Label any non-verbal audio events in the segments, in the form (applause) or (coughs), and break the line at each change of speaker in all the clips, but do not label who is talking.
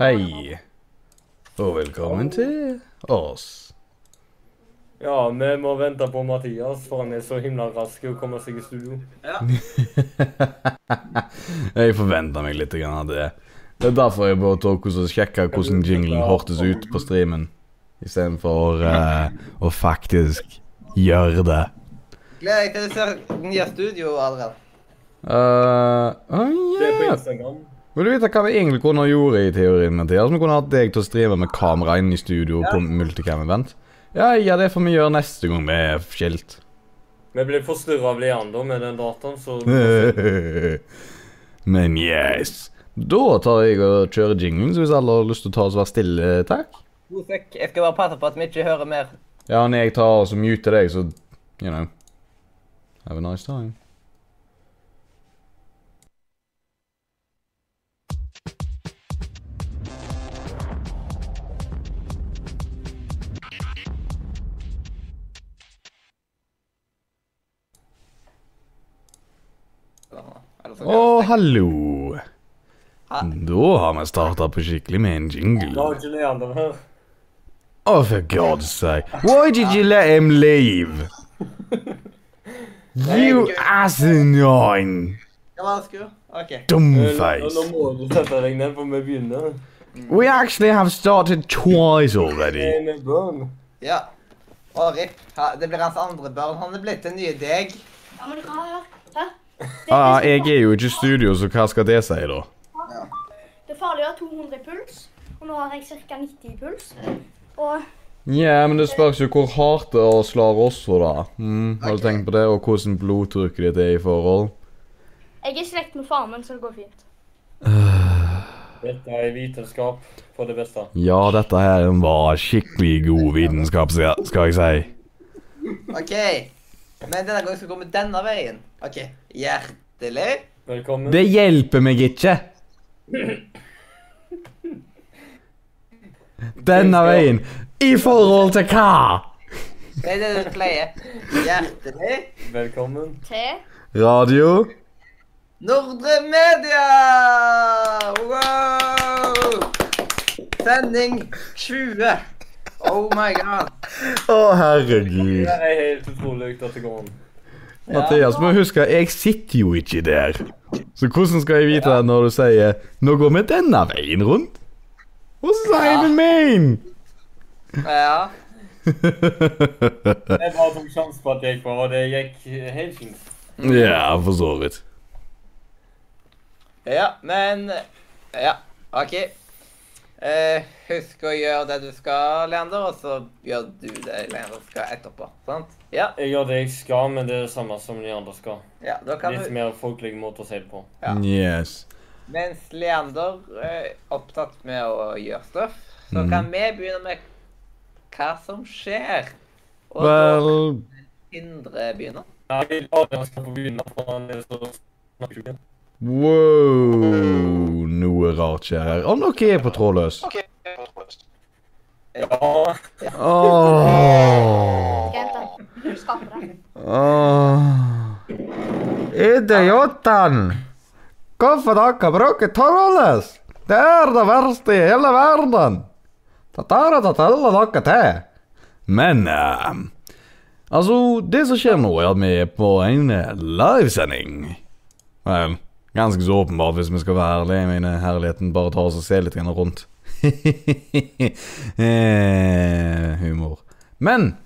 Hei, og velkommen til oss.
Ja, vi må vente på Mathias, for han er så himla rask i å komme seg i studio.
Ja.
Jeg forventa meg litt grann av det. Det er derfor jeg bare tok og sjekka hvordan jinglen hørtes ut på streamen, istedenfor uh, å faktisk gjøre det.
Gleder deg til du ser nye studio, Adrian.
Uh, oh,
Det er på
yeah.
Instagram.
Vil du vite hva vi egentlig kunne ha gjort i teorien, Mathias? Vi kunne hatt deg til å streame med kamera inn i studio på multicam-event. Ja, ja, det får vi gjøre neste gang vi er skilt.
Vi ble forstyrra av Leander med den dataen, så
(laughs) Men yes. Da tar jeg og kjører jinglen, så hvis alle har lyst til å ta oss og være stille, takk.
God søkk. Jeg skal bare passe på at vi ikke hører mer.
Ja, når jeg tar og så muter deg, så You know. Have a nice time.
Eller sånn.
Å, hallo. Da har vi starta på skikkelig med en
da
jingle.
er ikke Leander her.
Oh, for God's sake. Why did you let him leave? You asinine
Ja, hva skru? OK.
Eh, Nå nå
dumbface.
må du sette deg ned, for vi begynner.
We actually have started twice already.
Det er med børn.
Ja. Å, Rip. Ha, det blir hans andre barn. Han er blitt den nye deg.
Ja, men hva her? Hæ? Det,
Ja, ah, jeg er jo ikke i studio, så hva skal det si, da?
det er farlig å ha 200 i puls, og nå har jeg ca. 90 i puls. Og
Nja, men det spørs jo hvor hardt det er å slår også, da. Mm, har du tenkt på det, og hvordan blodtrykket ditt er i forhold?
jeg er i slekt med faren min, så det går fint.
Dette er vitenskap for det beste.
Ja, dette her var skikkelig god vitenskap, skal skal jeg si.
OK. Men denne gangen skal vi gå med denne veien. OK. Hjertelig.
Velkommen.
Det hjelper meg ikke. Denne veien. I forhold til hva?
Det er det du pleier. Hjertelig.
Velkommen.
Til
Radio.
Nordre Media! Wow! Sending 20. Oh my god.
Å, herregud.
Det er helt utrolig at det går an.
Mathias, må huske, jeg sitter jo ikke der. Så hvordan skal jeg vite det når du sier 'Nå går vi denne veien rundt'? Hva sier du min? (laughs)
Ja.
Jeg bare tok sjansen på at det gikk bra, og det gikk helt fint.
Ja, for så vidt.
Ja, men Ja, OK. Eh, husk å gjøre det du skal, Leander, og så gjør du det Leander skal etterpå. Sant? Ja.
Jeg gjør det jeg skal, men det er det samme som de andre skal.
ja da kan
Litt
du,
mer folkelig måte å si det på.
Ja.
Yes.
mens Leander er opptatt med å gjøre stuff, så
Mhm.
kan vi begynne med hva som skjer. Og da
Vel
Indre begynner.
Nei, jeg vil bare skal få begynne, for han er så snakker ikke.
Wow, noe rart skjer her. Om dere er på trådløs.
Ja.
Åh.
Skal jeg hente den? Skape den?
Åh. Idioten! Hvorfor dere bruker trådløs? Det er det verste i hele verden! Dette er det alle dere til. Men eh, Altså, det som skjer nå, er at vi er på en eh, livesending. Vel, ganske så åpenbart, hvis vi skal være ærlige. Mine herligheten, bare ta oss og se litt grann rundt. (laughs) eh, humor. Men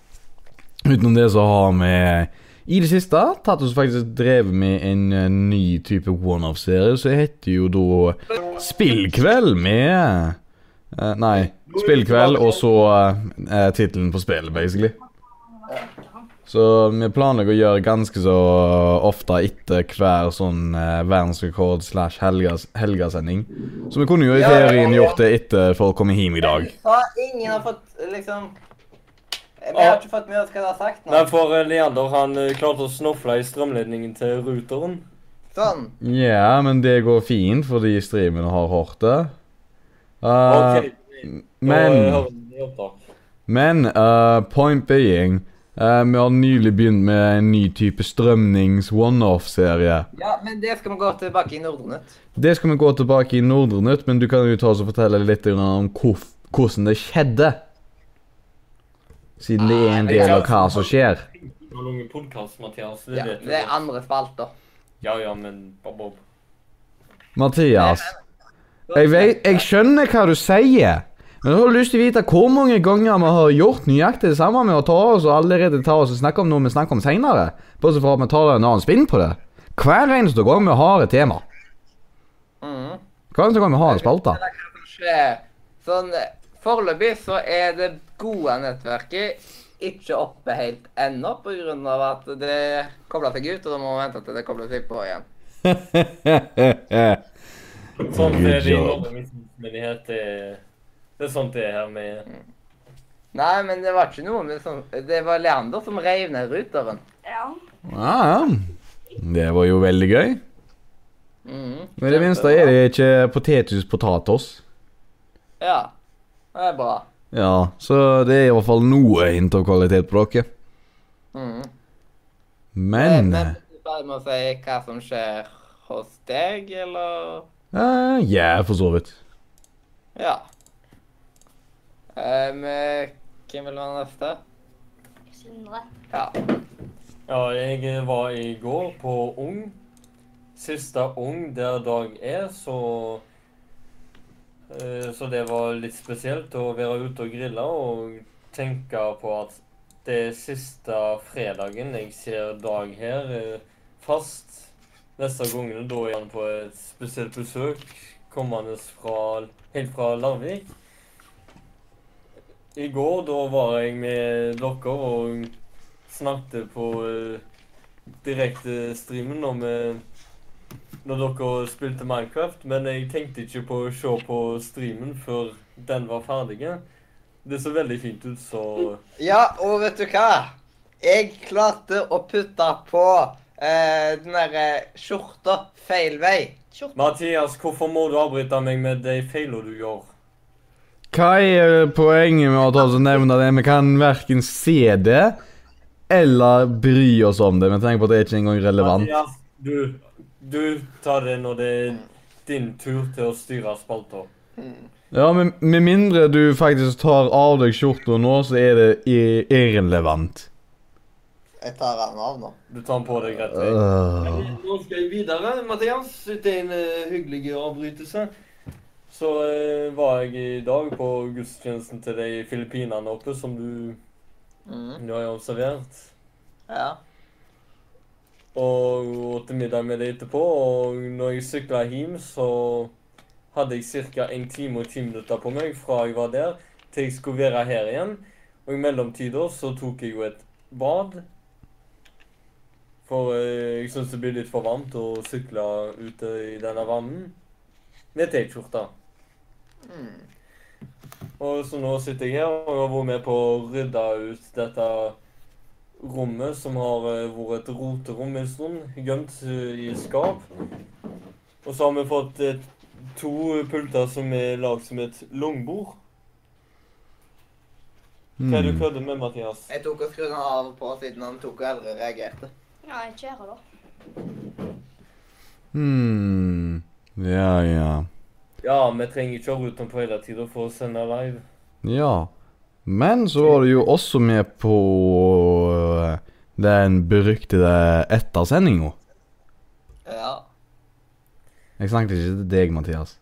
Utenom det så har vi i det siste tatt oss faktisk drevet med en eh, ny type one-off-serie, som heter jo da Spillkveld med eh, Nei, Spillkveld og så uh, tittelen på spillet, basically. Så vi planlegger å gjøre ganske så ofte etter hver sånn eh, verdensrekord slash helgas- helgasending. Så vi kunne jo i
Ja, ja,
teorien
ja.
gjort det etter folk kommer hjem i dag.
Så ingen har fått liksom Vi har ikke fått med oss hva du har sagt nå.
Nei, for eh, Leander han eh, klarte å snofle i strømledningen til routeren.
Sånn.
Ja, men det går fint, fordi streamene har hørt det. Eh,
Ok,
Men,
men
men eh, point being Eh, vi har nylig begynt med en ny type strømnings-one-off-serie.
Ja, men det skal vi gå tilbake i Nordnytt.
Det skal vi gå tilbake i Nordre Nytt, men du kan jo ta oss og fortelle litt grann om hvorf- hvordan det skjedde. Siden det er en del av hva som skjer.
Du har lang podkast, Mathias. Det
Ja,
vet du.
det er andre spalter.
Ja, ja, men Bob-Bob.
Mathias,
Sånn,
jeg, vet, jeg skjønner hva du sier. Men jeg har lyst til å vite hvor mange ganger vi har gjort nøyaktig det samme med å ta oss og allerede ta oss og snakke om noe vi snakker om seinere. Bortsett fra at vi tar en annen spinn på det. Hver eneste gang vi har et tema.
Mhm.
Hver eneste gang vi har en spalte.
Eller hva som skjer. Sånn, Foreløpig så er det gode nettverket ikke oppe helt ennå pga. at det kobla seg ut, og da må vi vente til det kobler seg på igjen.
Sånn
Good
er det i
job.
Norge misjonsmenighet. Det, er- det er sånt det er her med
Nei, men det var ikke noe med sånn Det var Leander som reiv ned ruteren.
Ja.
Ja, ja. Det var jo veldig gøy.
Mhm.
Men i det minste er det ikke potetjus potatos.
Ja. Det er bra.
Ja, så det er i hvert fall noe hint av kvalitet på dere.
Mhm. Eh,
Men
Men bare med å si hva som skjer hos deg, eller
eh, Ja, for så vidt.
Ja. Eh, men hvem vil være neste?
Sindre.
Ja.
Ja, jeg eh, var i går på Ung. Siste Ung der dag er, så eh, Så det var litt spesielt å være ute og grille og tenke på at det er siste fredagen jeg ser Dag her eh, fast. Neste gangen da er han på et spesielt besøk, kommende fra, helt fra Larvik. I går da var jeg med dere og snakket på uh, direktestreamen om eh, når dere spilte Minecraft, men jeg tenkte ikke på å se på streamen før den var ferdig. Det så veldig fint ut, så
Ja, og vet du hva? Jeg klarte å putte på eh, den derre skjorta feil vei.
Skjorte.
Mathias, hvorfor må du avbryte meg med de feilene du gjør?
Hva er poenget med å ta oss og nevne det? Vi kan verken se det eller bry oss om det. Vi tenker på at det er ikke engang relevant.
Mathias, du, du tar det når det er din tur til å styre spalta.
Hmm,
Ja, men Med mindre du faktisk tar av deg skjorta nå, så er det i- irrelevant.
Jeg tar den av nå.
Du tar den på deg rett vei.
Øh.
Nå skal jeg videre, Mathias, etter en eh, hyggelig avbrytelse. Så eh, var jeg i dag på gudstjenesten til de filippinerne oppe, som du
Mm.
nå har observert.
Ja.
Og åt middag med det etterpå, og når jeg sykla hjem, så hadde jeg ca. en time og ti minutter på meg fra jeg var der, til jeg skulle være her igjen. Og i mellomtida så tok jeg jo et bad. For eh, jeg syns det blir litt for varmt å sykle ute i denne varmen med T-skjorte.
Mm.
Og så nå sitter jeg her og har vært med på å rydde ut dette rommet som har eh, vært et roterom en stund, gjemt eh, i skap. Og så har vi fått eh, to pulter som er lagd som et langbord. Hva er det du
Hmm.
kødder med, Mathias?
Jeg tok og skrudde den av og på siden han tok og aldri reagerte.
Ja, jeg kjører da.
Hmm. Ja, ja.
Ja, vi trenger ikke å rute den på hele tida for å sende live.
Ja. Men så var du jo også med på øh, den beryktede ettersendinga.
Ja.
Jeg snakket ikke til deg, Mathias.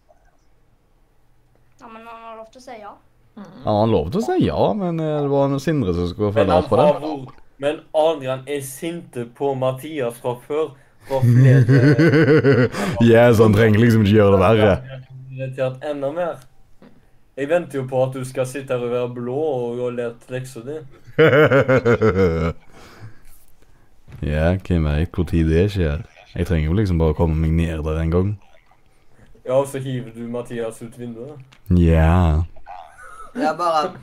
Ja, men han har lov til å si ja.
Ja, han lovte å si ja, men eh, det var noe Sindre som skulle
Men,
følge
han
opp
(laughs)
på det.
har vært- men Adrian er sinte på Mathias fra før. Fra
(laughs)
flere
Yes, han trenger liksom ikke gjøre det verre.
(laughs) irritert enda mer. Jeg venter jo på at du skal sitte her og være blå og ha lært leksa di.
Ja, hvem veit hvor tid det skjer? Jeg trenger jo liksom bare å komme meg ned der en gang.
Ja, og så hiver du Mathias ut vinduet.
Ja.
Det er bare at,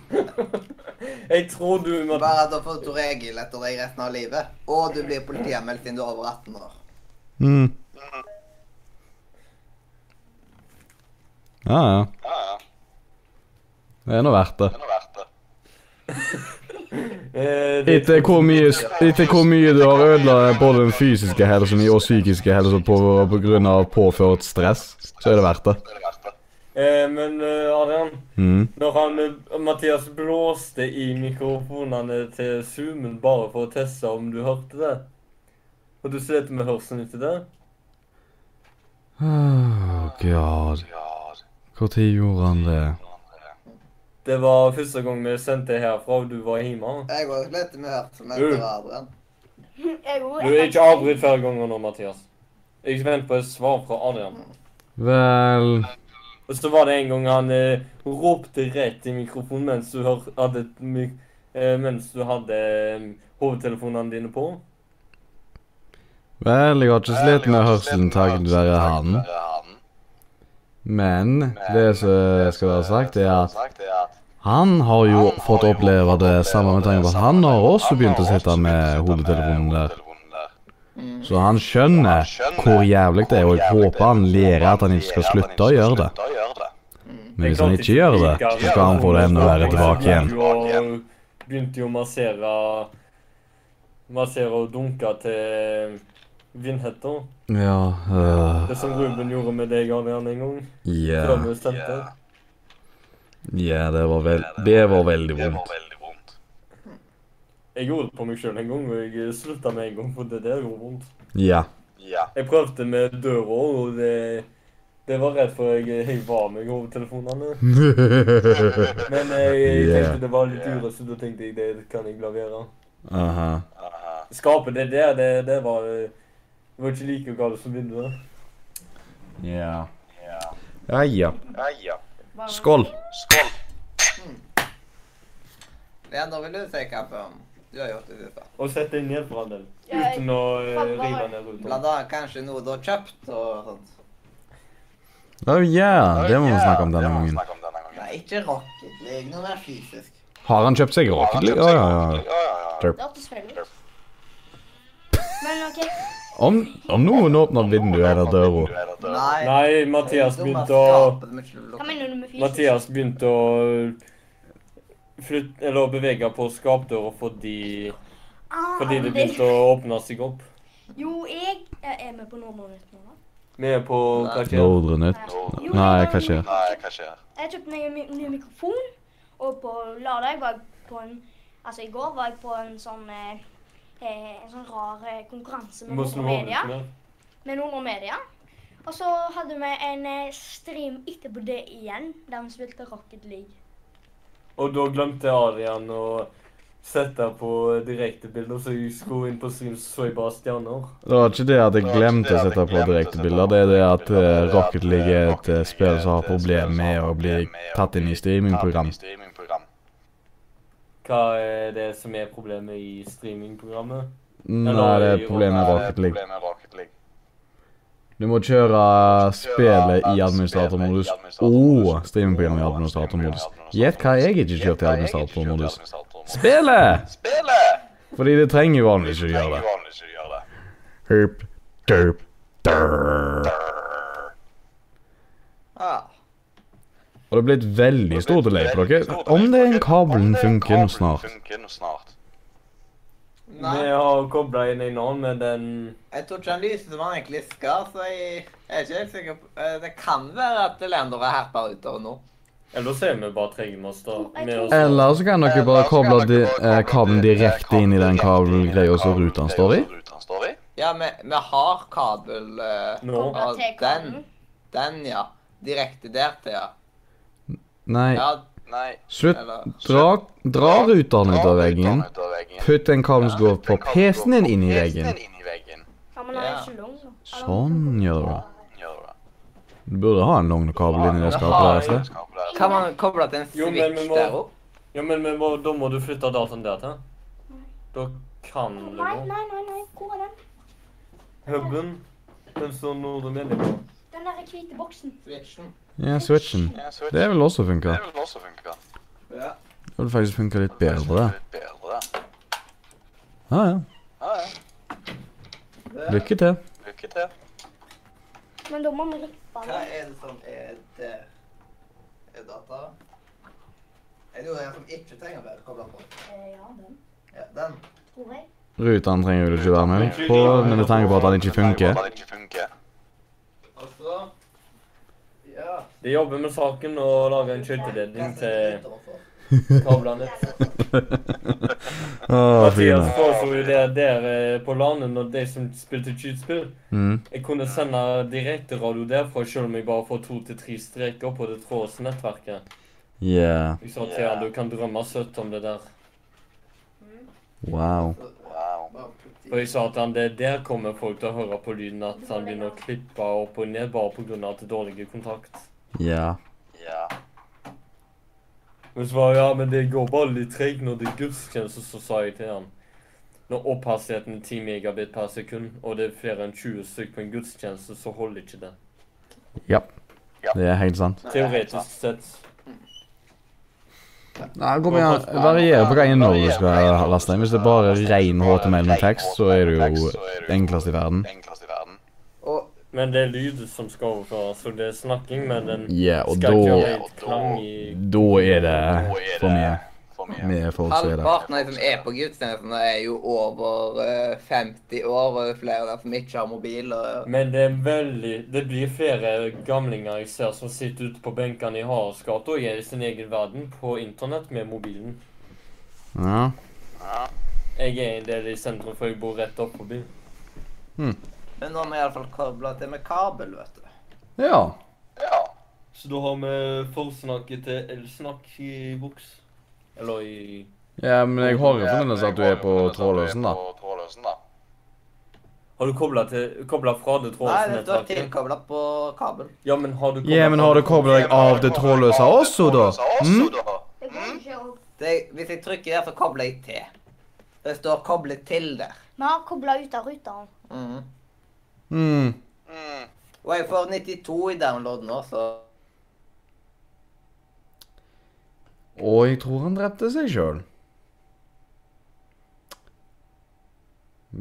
Jeg tror du, Mathias
bare at da får du regel etter deg resten av livet. Og du blir politianmeldt siden du er over 18 år.
Mm. Ja, ja.
Ja, ja.
Det er nå verdt det.
Det er noe verdt det.
Eh, det-
Etter hvor mye, etter hvor mye du har ødelagt både den fysiske helsen min og psykiske helsen på, på grunn av påført stress, så er det verdt det.
Eh, men eh, Adrian,
Mm.
når han, eh, Mathias blåste i mikrofonene til Zoomen bare for å teste om du hørte det Og du slet med hørselen etter det?
Oh, God. Hvor tid gjorde han det?
Det var første gang vi sendte herfra, og du var hjemme.
Jeg var litt med hørsel, men
Du.
det var Adrian.
Jeg går
Du er ikke avbryt flere ganger nå, Mathias. Jeg er spent på et svar fra Adrian.
Vel
Og så var det en gang han eh, ropte rett i mikrofonen mens du hør, hadde, et mik- eh, mens du hadde eh, hovedtelefonene dine på.
Vel, jeg har ikke slitt med hørselen takket være han. Men det som skal være sagt, er at han har jo fått oppleve det samme med tanke på at han har også begynt å sitte med hodetelefonen der. Så han skjønner hvor jævlig det er, og jeg håper han lærer at han ikke skal slutte å gjøre det. Men hvis han ikke gjør det, så skal han få det enda verre tilbake igjen.
igjen. Begynte jo å massere Massere og dunke til vindhetter.
Ja øh,
Det som Ruben gjorde med deg, Adrian, en gang.
Ja,
Yeah. Vi stemte.
ja, det var vel Det var veldig vondt.
Jeg gjorde det på meg sjøl en gang, og jeg slutta med en gang, for det der gjorde vondt.
Ja.
Jeg prøvde med døra, og det, det var rett før jeg heiv av meg hovedtelefonene. Men jeg, jeg
Yeah.
tenkte det var litt urett, så da tenkte jeg det kan jeg la være.
(laughs) Aha.
Skapet det der, det, det var eh, Det var ikke like galt som vinduet.
Ja. Ja, ja. Skål.
Leon, da vil du si hva som du har gjort i det siste.
Og sett deg ned for all del.
Ja, jeg-
Uten å eh,
Faen, hva
rive
var-
ned ruta.
Blant annet kanskje noe du har kjøpt og sånt.
Å ja, det må vi snakke om denne gangen.
Nei, ikke Rocket League, noe mer fysisk.
Har han kjøpt seg Rocket League? Å ja, ja.
Det hørtes feil ut. Men OK,
Om, om noen åpner vinduet eller døra
Nei.
Nei, Mathias
det er dumme
begynte å
skapet med skjul-
hva mener du med fysisk?
Mathias begynte å flytte, eller å bevege på skapdøra fordi,
Ah,
fordi det begynte å åpne seg opp.
Jo, jeg jeg er med på Nordnornytt nå. da.
Vi er på
Nei.
kvarter.
Nordre Nytt.
Jo,
Nei,
jeg
hva
var-
skjer?
Jeg kjøpte meg en mi- ny mikrofon, og på lørdag var jeg på en Altså, i går var jeg på en sånn eh, eh, en sånn rar eh, konkurranse
Du
med
må
Nordre
snu hodet
Media.
litt mer.
Med Nordre Media. Og så hadde vi en eh, stream etterpå det igjen, der vi spilte Rocket League.
Og da glemte Adrian å sette på direktebilder, så jeg skulle inn på stream, så så jeg bare stjerner.
Det var ikke det at jeg glemte å sette på direktebilder, det er det at eh, Rocket League er et eh, spill som har problemer med å bli tatt inn i streamingprogram.
Hva er det som er problemet i streamingprogrammet?
Nei, det er et problem med Rocket League. Du må kjøre eh, spillet i administratormodus og streamingprogrammet i administratormodus. Gjett hva jeg ikke kjørte i administratormodus. Spillet! Fordi det trenger jo vanligvis ikke å gjøre det. Herp, derp, derp.
Ja.
Og det er blitt veldig stor delay på dere. Om det er en kabelen funker nå snart.
Nei,
Vi har kobla inn en annen med den
jeg tror ikke han lyser som han egentlig skal, så jeg jeg er ikke helt sikker på eh, Det kan være at Leander har herpa utover nå.
Eller så er vi bare
Oh,
tregemaster. med oss.
Eller så kan dere bare koble di eh, kabelen direkte inn i den kabelgreia som ruten står i.
Ja, vi, vi har kabel eh,
Nå.
og
Koblet til
den,
kabelen.
den, ja. Direkte der til, ja.
Nei,
ja
slutt.
eller
Dra, dra ruten ut av veggen. Putt den kabelen som går på PC-en din, inn i veggen.
Ja, men han er
Ja.
ikke lang, så.
Sånn gjør du det. Du burde ha en lang kabel inn i det skapet der altså. et sted.
Kan man koble til en
Jo, men vi
switch
må-
der opp?
Ja, men vi må, da må du flytte dataen der til. Da kan du
Nei,
gå.
nei, nei, nei. Hvor er den?
Hubben, den står nordre media på.
Den der hvite boksen.
Switchen.
Ja, switchen. Det vil også funke.
Ja.
Det vil faktisk funke litt bedre. Ja, ja. Lykke til.
Men da må vi rippe
Hva
den.
er det som er der? Er det data? Er det noe her som ikke trenger å være kobla på?
Eh, Ja, den.
Ja, den.
tror jeg.
Rutan trenger du ikke være med på, men med tanke på at han ikke funker.
Og så Ja.
De jobber med saken og lager en skytterledning til kablene.
Å, fine.
Mathias foreslo jo det der eh, på landet når de som spilte skytespill.
Mm.
Jeg kunne sende direkteradio derfra selv om jeg bare får to til tre streker på det trådsnettverket.
Yeah.
Jeg sa til han, du kan drømme søtt om det der.
Wow.
For jeg sa til han, det der kommer folk til å høre på lyden at han begynner å klippe opp og ned bare på grunn av at det er dårlig kontakt.
Ja.
Men så var jeg, ja, men det går bare litt tregt når det er gudstjeneste, så sa jeg til han. Når opphastigheten er 10 megabit per sekund, og det er flere enn 20 stykk på en gudstjeneste, så holder ikke det.
Ja. Det er helt sant.
Teoretisk sett.
Nei, kom igjen. Varierer på hva innhold du skal laste inn. Hvis det er bare ren HTML med tekst, så er det jo enklest i verden.
Og
Men det er lyd som skal overføres, så det er snakking, men den
Ja, og
skal ikke
da
ha helt klang i
Da er det Eh, for mye. Med folk så er det
halvparten av de som er på gudstjenesten, er jo over eh, 50 år, og det er flere der som ikke har mobil. og...
Men det er veldig Det blir flere gamlinger jeg ser som sitter ute på benkene i Haraldsgata og er i sin egen verden på internett med mobilen.
Ja.
Jeg er en del i sentrum, for jeg bor rett opp forbi.
Men nå har vi iallfall kobla til med kabel, vet du.
ja.
Så da har vi forsnakket til elsnakk i boks. Eller i
Ja, men jeg har jo fremdeles at du er på trådløsen, da.
Har du kobla fra det
Nei, det står
trådnettverket?
tilkobla på kabel.
Ja, men har du
Ja, men har du koblet deg av det trådløse også, da? Mm?
Det går ikke å
Det, hvis jeg trykker der, så kobler jeg til. Det står 'koble til' der.
Vi har kobla ut av ruteren.
Mhm.
Mm.
Og jeg får 92 i download nå, så
Og jeg tror han drepte seg sjøl.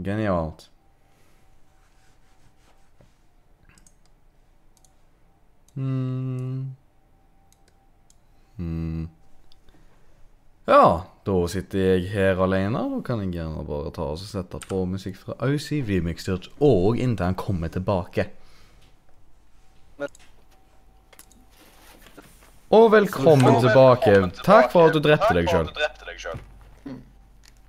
Genialt. Hmm. Hmm. Ja, da sitter jeg her alene. Da kan jeg gjerne bare ta og sette på musikk fra Aussie Remix Church og inntil han kommer tilbake. Og velkommen tilbake. Takk for at du drepte deg sjøl.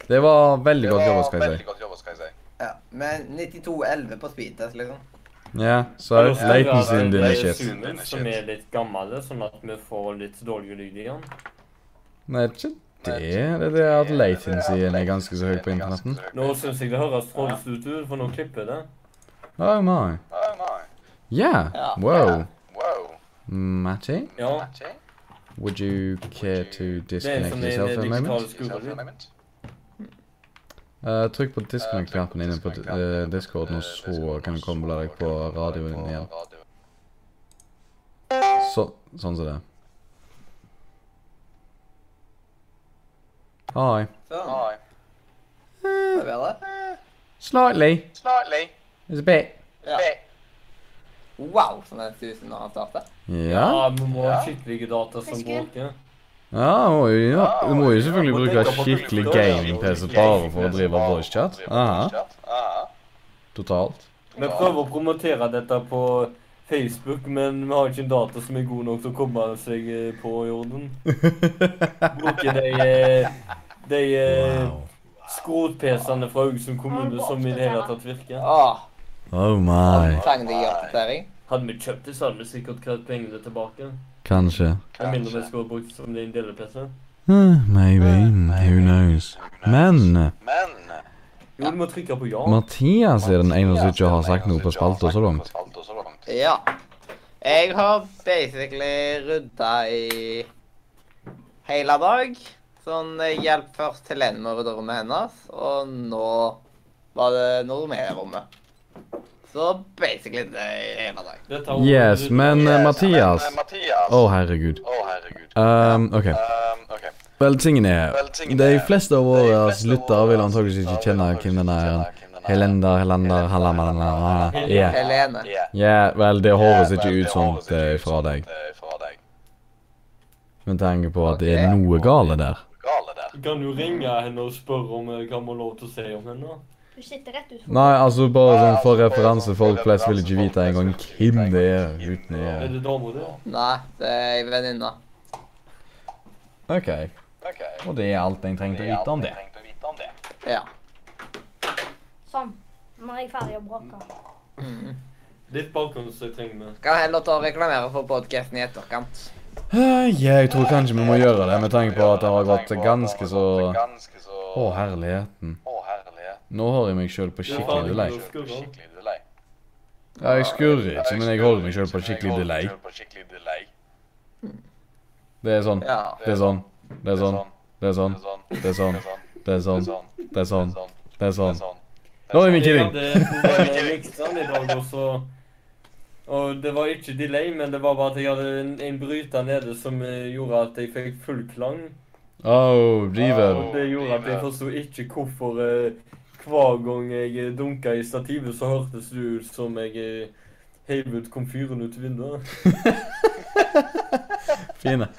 Det var veldig godt jobba, skal jeg si.
ja. Men 92,11 på speedtest, liksom.
Ja, så er latencyen din er shit.
Zoomen, Som er litt gammel, sånn at vi får litt dårlig lyd i den.
Nei, ikke det. Det er det at latencyen er ganske så høy på internetten.
Nå syns jeg det høres trådstutt ut, for nå klipper det.
Oh my. Yeah. Wow. Matty,
Ja,
would you care to
det er
disconnect
som en
yourself
eh,
for a
digital
moment?
skurelyd.
Eh, trykk på disconnect-knappen inne på eh, discorden, og så kan du koble deg på radioen din igjen. Så, sånn som det. Hi.
Sånn. Er det bedre?
Slightly. It's a bit.
Ja. Wow, sånn som den susen når han starter.
Ja.
Ja, vi må ha skikkelige data som
Fisken.
bråker.
Ja, må jo, ja. Ah, Du må jo selvfølgelig
Ja, må
bruke
tenke på
skikkelig
produkter, ja.
gaming-PC bare for å drive Ah, voicechat. Aha, totalt.
Vi prøver å promotere dette på Facebook, men vi har ikke en data som er god nok til å komme seg eh, på i
(laughs)
orden. Bruker de, eh, de eh, skrot-PC-ene fra Haugesund kommune som i det hele tatt virker.
Åh,
Oh my.
trenger de oppdatering?
Hadde vi kjøpt det, så hadde vi sikkert krevd pengene tilbake.
Kanskje.
Med mindre vi skulle brukt det som en delepc.
Eh, Maybe. Who knows. Men
Jo, du må trykke på ja.
Eh, Mathias er den ene som ikke har sagt noe på spalta så langt. eh,
Ja. Jeg har basically rydda i hele dag. Sånn eh, hjelp først Helene med å rydde rommet hennes, og nå var det noe med i rommet. Så basically det i hele dag.
Dette har-
Yes, men eh, Mathias Å, herregud. Um, OK. Vel, tingen er De fleste av våre lyttere vil antakeligvis ikke kjenne hvem denne Helender, Helender, Hallamalla er.
Helene.
Ja, vel, det høres ikke ut sånn eh, fra deg. Med tanke på at det er noe gale der.
Kan du ringe henne og spørre om eh, hva vi har lov til å si om henne?
Hun sitter rett ut
Nei, altså bare sånn for referanse. Folk flest vil ikke vite engang hvem det er uten å
Er det dama di?
Nei, det er ei venninne.
OK. Og det er alt jeg trengte å vite om det.
Ja.
Sånn. Nå er jeg ferdig å bråke.
Mm.
Litt bakgrunn som jeg trenger med.
Kan heller ta og reklamere for podkasten i etterkant.
Eh, Ja, jeg tror kanskje vi må gjøre det, med tanke på at det har gått ganske så Å, herligheten. Nå har jeg meg sjøl på skikkelig delay. Ja, jeg skurrer ikke, men jeg holder meg sjøl på skikkelig delay. Det er sånn.
Ja.
Det er sånn. Det er sånn. Det er sånn. Det er sånn. Det er sånn. Det er sånn. Det er sånn. Nå er vi
Jeg
killing.
hadde programmet jeg likte den i dag også. Og det var ikke delay, men det var bare at jeg hadde en, en bryter nede som eh, gjorde at jeg fikk full klang.
Oh, driver.
Og det gjorde at jeg forsto ikke hvorfor eh, hver gang jeg dunka i stativet, så hørtes det ut som jeg eh, heiv ut komfyren ut vinduet.
Fine.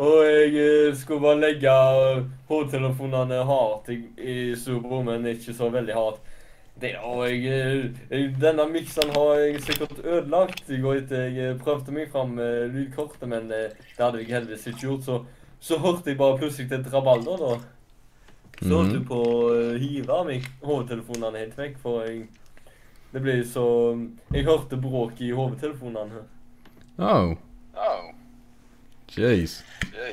Og jeg eh, skulle bare legge eh, hodetelefonene hardt i, i storebror, men ikke så veldig hardt. Det, og jeg, eh, jeg, denne miksen har jeg sikkert ødelagt. I går etter jeg eh, prøvde meg fram med lydkortet, men eh, det hadde jeg heldigvis ikke gjort. Så, så hørte jeg bare plutselig til et rabalder, da. Så holdt jeg på å eh, hive av meg hodetelefonene helt vekk, for jeg Det ble så Jeg hørte bråk i hodetelefonene.
Oh, jeez. Det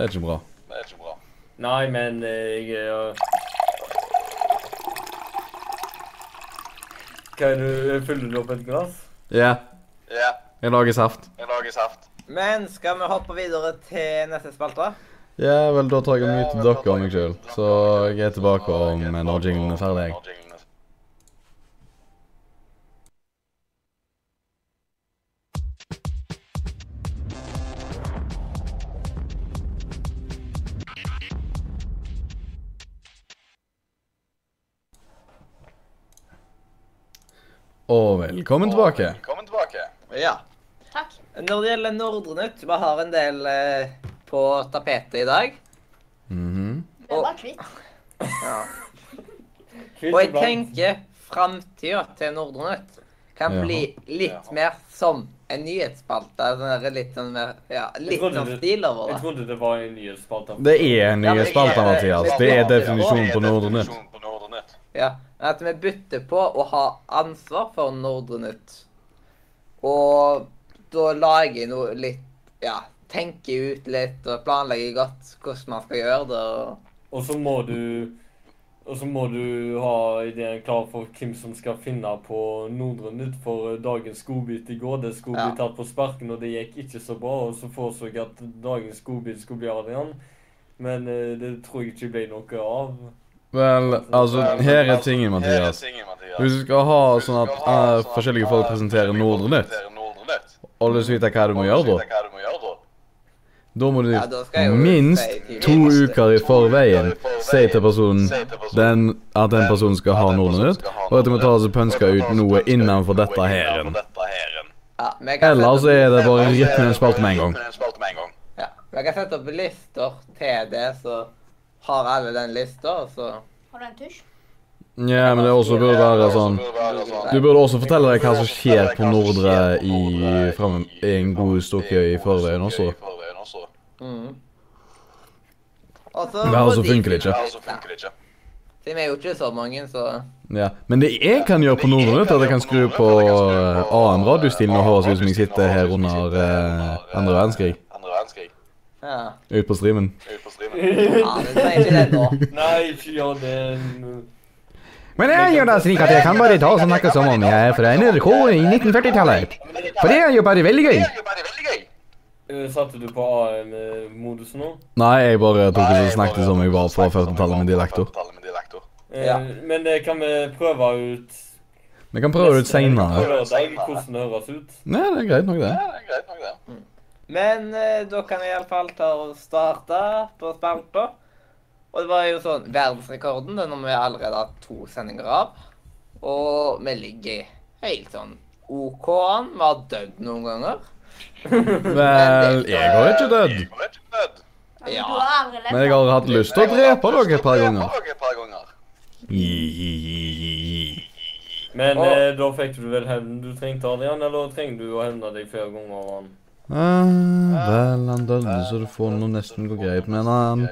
er ikke bra.
Nei, men eh, jeg eh, Hva er det Fyller du opp et glass?
Ja, jeg lager saft.
Men skal vi hoppe videre til neste spalte?
Ja, vel, da tar jeg mye til dere og meg sjøl. Så jeg er tilbake om når jinglen er ferdig. jeg. Og velkommen tilbake.
Ja.
Takk.
Når det gjelder Nordre Nytt, vi har en del eh, på tapetet i dag.
Mhm.
Vi er bare kvitt.
Kvitt
Og jeg
iblant.
tenker framtida til Nordre Nytt kan
Jaha.
bli litt mer som en nyhetsspalte. Sånn der litt sånn mer Ja, litt
trodde
sånn
det-
stil over
Jeg
det.
trodde det var en nyhetsspalte.
Det er nye spalter, Mathias. Det er definisjonen på Nordre
Nordre
Nytt.
Nytt.
Ja, men At vi bytter på å ha ansvar for Nordre Nytt. Og da lager jeg noe litt Ja, tenker ut litt og planlegger godt hvordan man skal gjøre det. og...
Og så må du og så må du ha ideen klar for hvem som skal finne på Nordre Nytt. For eh, dagens godbit i går, det skulle bli
Ja.
tatt på sparken, og det gikk ikke så bra. Og så foreså jeg at dagens godbit skulle bli Adrian, men eh, det tror jeg ikke ble noe av.
Vel, altså, her er tingen, Mathias. Hvis du skal ha sånn at eh, forskjellige folk presenterer Nordre Nytt, og du skal vite hva du må gjøre da, da må
Ja, da skal
du
jeg jo si
minst
til-
to uker i forveien si til personen den, at den personen skal ha Nordre Nytt, og at du må ta og pønske ut noe innenfor dette her.
Ja, men jeg kan
Eller
sette
så er det bare rett ned
Rett
en spalte med en gang.
en gang.
opp- ja, men jeg kan sette opp lister til det, så har alle den lista, og så
Har du en tusj?
Ja, men det også burde være sånn Du burde også fortelle deg hva som skjer på Nordre i, frem, i en god stokke i forveien også.
Mm. Og så
Men altså funker det ikke.
Ja, så funker det ikke.
Siden vi er jo ikke så mange, så
Ja, Men det jeg kan gjøre på Nordre Nytt, er at jeg kan skru på eh, annen radiostil og høres ut som jeg sitter her under eh, andre verdenskrig.
Andre verdenskrig.
Ja.
Ute på streamen.
Ut på streamen.
ja men det er ikke det nå.
Nei, ikke gjør det.
Men jeg gjør det slik at jeg kan bare ta og snakke som om jeg er fra NRK i 1940-tallet. For det er jo bare veldig gøy.
Det er jo bare veldig gøy.
Eh, Satte du på AM-modus nå?
Nei, jeg bare tok og så snakket som jeg var fra 40-tallet med dialektor.
Eh,
Ja.
Men det kan vi prøve ut
Vi kan prøve det ut
på
seinere.
lørdag, hvordan det høres ut.
Ja, det er greit nok, det.
Ja, det er greit nok, det.
Men eh, da kan jeg iallfall ta og starte på spalta. Og det var jo sånn Verdensrekorden den har vi allerede hatt to sendinger av. Og vi ligger helt sånn OK an. Vi har dødd noen ganger.
Vel, jeg har ikke dødd.
Jeg har ikke dødd.
Ja,
Ja.
Du har aldri levd
Men jeg har aldri hatt lyst til å drepe dere et par ganger.
Drepe dere et par ganger.
Men
Å.
eh, da fikk du vel hevnen du trengte, Adrian, eller trenger du å hevne deg flere ganger? over han?
Eh, vel, han døde, så det får nå nesten gå greit. Men han,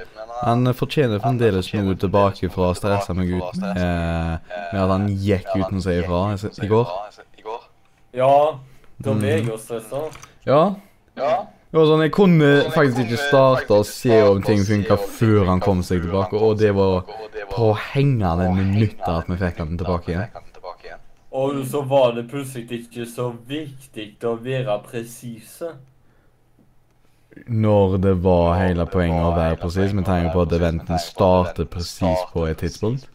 han fortjener fremdeles noe tilbake fra å stresse meg ut eh, med at han gikk uten å si ifra i se- i går.
I går.
Ja, da ble jeg jo stressa.
Ja.
Ja.
Det var sånn, Jeg kunne faktisk ikke starte å se om ting funka før han kom seg tilbake, og det var på hengende minutter at vi fikk han tilbake igjen.
igjen.
Og så var det plutselig ikke så viktig å være presise.
Når det var hele poenget å være presis, med tanke på at eventen starter presis på et tidspunkt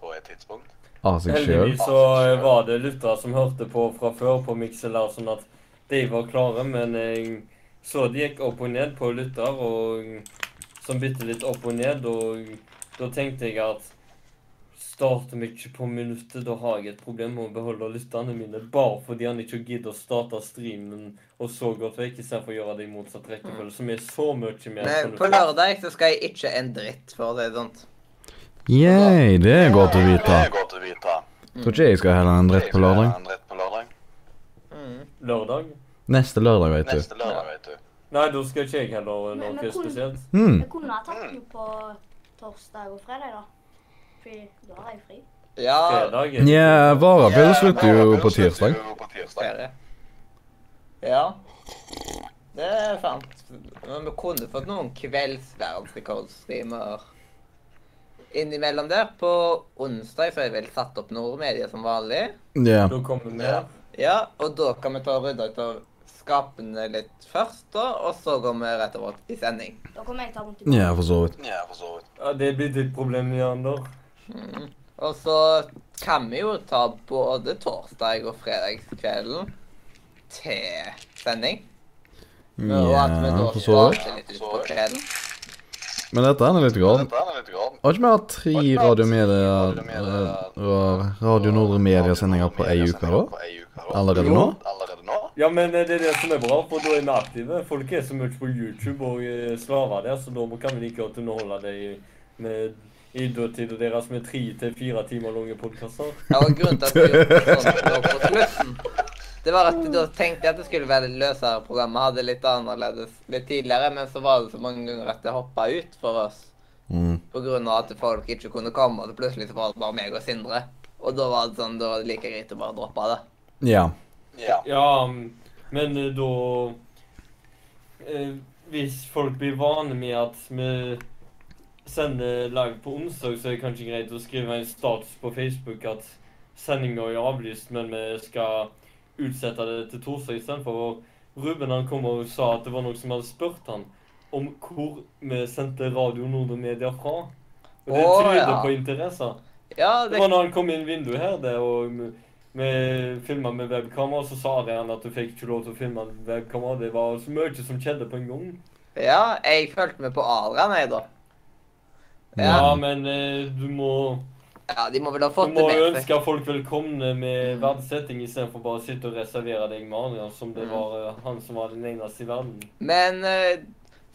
av seg sjøl.
Heldigvis så eh, var det lyttere som hørte på fra før på Mixelar, sånn at de var klare, men jeg så det gikk opp og ned på lytter, og som bitte litt opp og ned, og da tenkte jeg at starter vi ikke på minuttet, da har jeg et problem med å beholde lytterne mine, bare fordi han ikke gidder å starte streamen og så godt vekk, istedenfor å gjøre det i motsatt rekkefølge, som er så mye mer
Men på
fornuftig.
lørdag så skal jeg ikke en dritt, for å si det sånn.
Yeah, det er godt å vite.
Det er godt å vite.
Tror ikke jeg skal heller en dritt på lørdag.
En rett på lørdag.
Lørdag?
Neste lørdag, vet du.
Neste lørdag, vet du.
Nei, da skal ikke jeg heller eh,
Men- men
noe
kun-
spesielt.
Hmm.
Jeg kunne ha tatt den på torsdag og fredag, da. Fordi da har jeg fri.
Ja,
Fredag? er-
Nja, Varapille slutter jo på
Varapille
tirsdag.
slutter jo på tirsdag.
ferie. Ja. Det er sant. Men vi kunne fått noen kveldsverdensrekordstreamer innimellom der. På onsdag så er det vel satt opp Nordmedia som vanlig.
Ja.
Da kommer vi
Ja.
med.
Ja, og da kan vi ta og rydde ut av skapene litt først, da, og så går vi rett og slett i sending.
Da kommer jeg til å ha vondt i
ja, for så vidt.
Ja, for så vidt.
Ja, det blir ditt problem, Leander.
Og så kan vi jo ta både torsdag og fredagskvelden til sending. Og at vi
Ja,
da
for så vidt.
starter litt ut på kvelden.
Men dette er nå litt galt.
Dette er litt grann.
Har ikke vi hatt tre Radio Media eh, og Radio Nordre Media-sendinger på ei uke, da?
På ei uke, da.
Allerede nå?
Allerede nå?
Ja, men eh, det er det som er bra, for da er vi aktive. Folk er så mye på YouTube og eh, slaver der, så da kan vi like godt underholde deg med idrettstida deres med tre til fire timer lange podkaster.
Ja, og grunnen til at vi gjorde sånn nå på slutten, det var at da tenkte jeg at det skulle være litt løsere program. Vi hadde det litt annerledes litt tidligere, men så var det så mange ganger at det hoppa ut for oss.
Mm.
På grunn av at folk ikke kunne komme, og så plutselig så var det bare meg og Sindre. Og da var det sånn, da var det like greit å bare droppe det.
Ja.
Ja.
Ja, men eh, da eh, Hvis folk blir vane med at vi sender live på onsdag, så er det kanskje greit å skrive en status på Facebook at sendinga er avlyst, men vi skal utsette det til torsdag istedenfor. Og Ruben han kom og sa at det var noen som hadde spurt han om hvor vi sendte Radio Nordre Media fra. Og det
Å,
tyder
ja.
på interesse.
Ja,
Det
det,
var når han kom inn vinduet her, det, og vi- vi filma med webkamera, og så sa Adrian at du fikk ikke lov til å filme med webkamera. Det var så mye som skjedde på en gang.
ja jeg fulgte med på Adrian, jeg, da. Ja,
Ja, men eh, du må,
ja, de må vel ha
du
fått det
må jo
med seg.
ønske folk velkomne
Mm.
med verdsetting istedenfor bare å sitte og reservere deg med Adrian, som
Mm.
det var eh, han som var den eneste i verden.
Men eh,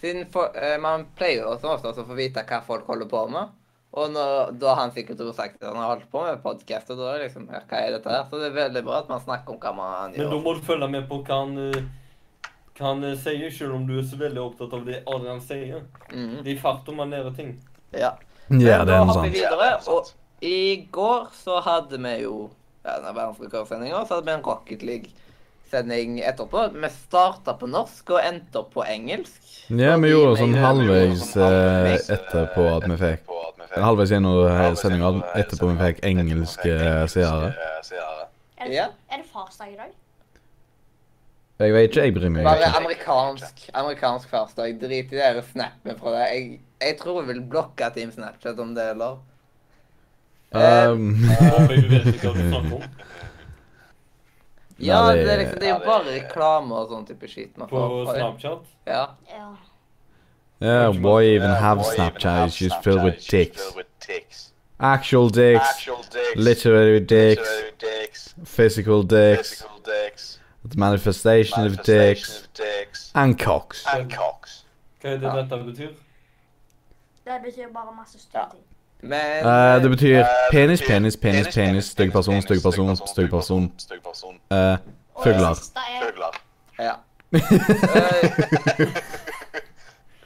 siden for, eh, man pleier jo som oftest å få vite hva folk holder på med. Og når, da har han sikkert også sagt at han har holdt på med podkast, og da er det liksom ja, Hva er dette her? Så det er veldig bra at man snakker om hva man
Men
gjør.
da må du følge med på hva han, eh, hva han eh, sier, selv om du er så veldig opptatt av det Adrian sier.
Mhm,
Det er fart om han lærer ting.
ja.
Ja,
Men
det er
da
en
hopper
sånn.
vi videre, og i går så hadde vi jo ja, den verdensrekordsendinga, og så hadde vi en Rocket League-sending etterpå. Vi starta på norsk og endte opp på engelsk.
Ja, vi gjorde sånn halvveis
Vi gjorde sånn
eh,
halvveis, eh,
etterpå at vi fikk
etterpå at vi fikk-
Halvveis gjennom
halvveis
sendinga
gjennom, eh,
etterpå vi
sendingen,
fikk
etterpå vi fikk
engelske
engelske,
seere.
eh, seere.
Er det,
Ja.
er det farsdag i dag?
Jeg vet ikke, jeg bryr meg
Bare
ikke.
amerikansk, amerikansk farsdag. Drit i de der snappene fra deg. Jeg, jeg tror jeg vil blokke Team Snapchat om det gjelder.
(laughs) Um,
Håper jeg du vet ikke hva du snakker om.
Ja,
Ja, det-
det er liksom, det er
ja,
jo
det-
bare reklame og sånn type skit. man
På
får fra det.
Snapchat.
Ja.
Ja.
yeah, why even
Yeah,
have
why even
Snapchat?
have
It's just
Snapchat?
filled with
It's just
dicks.
filled with dicks.
Actual dicks.
Actual dicks.
Literary dicks.
Literary dicks.
Physical dicks.
Physical dicks.
The manifestation of
Manifestation
dicks.
of dicks.
And cocks.
And cocks.
Hva er det dette betyr?
Det betyr bare masse stygge ting.
Men
Eh, det betyr
Eh,
penis,
det betyr
penis, penis, penis, stygg person,
penis,
stygg person, stygg person.
stygg person,
Eh,
Og det
(laughs) Fugler.
siste er
Ja.
(laughs) Fugler.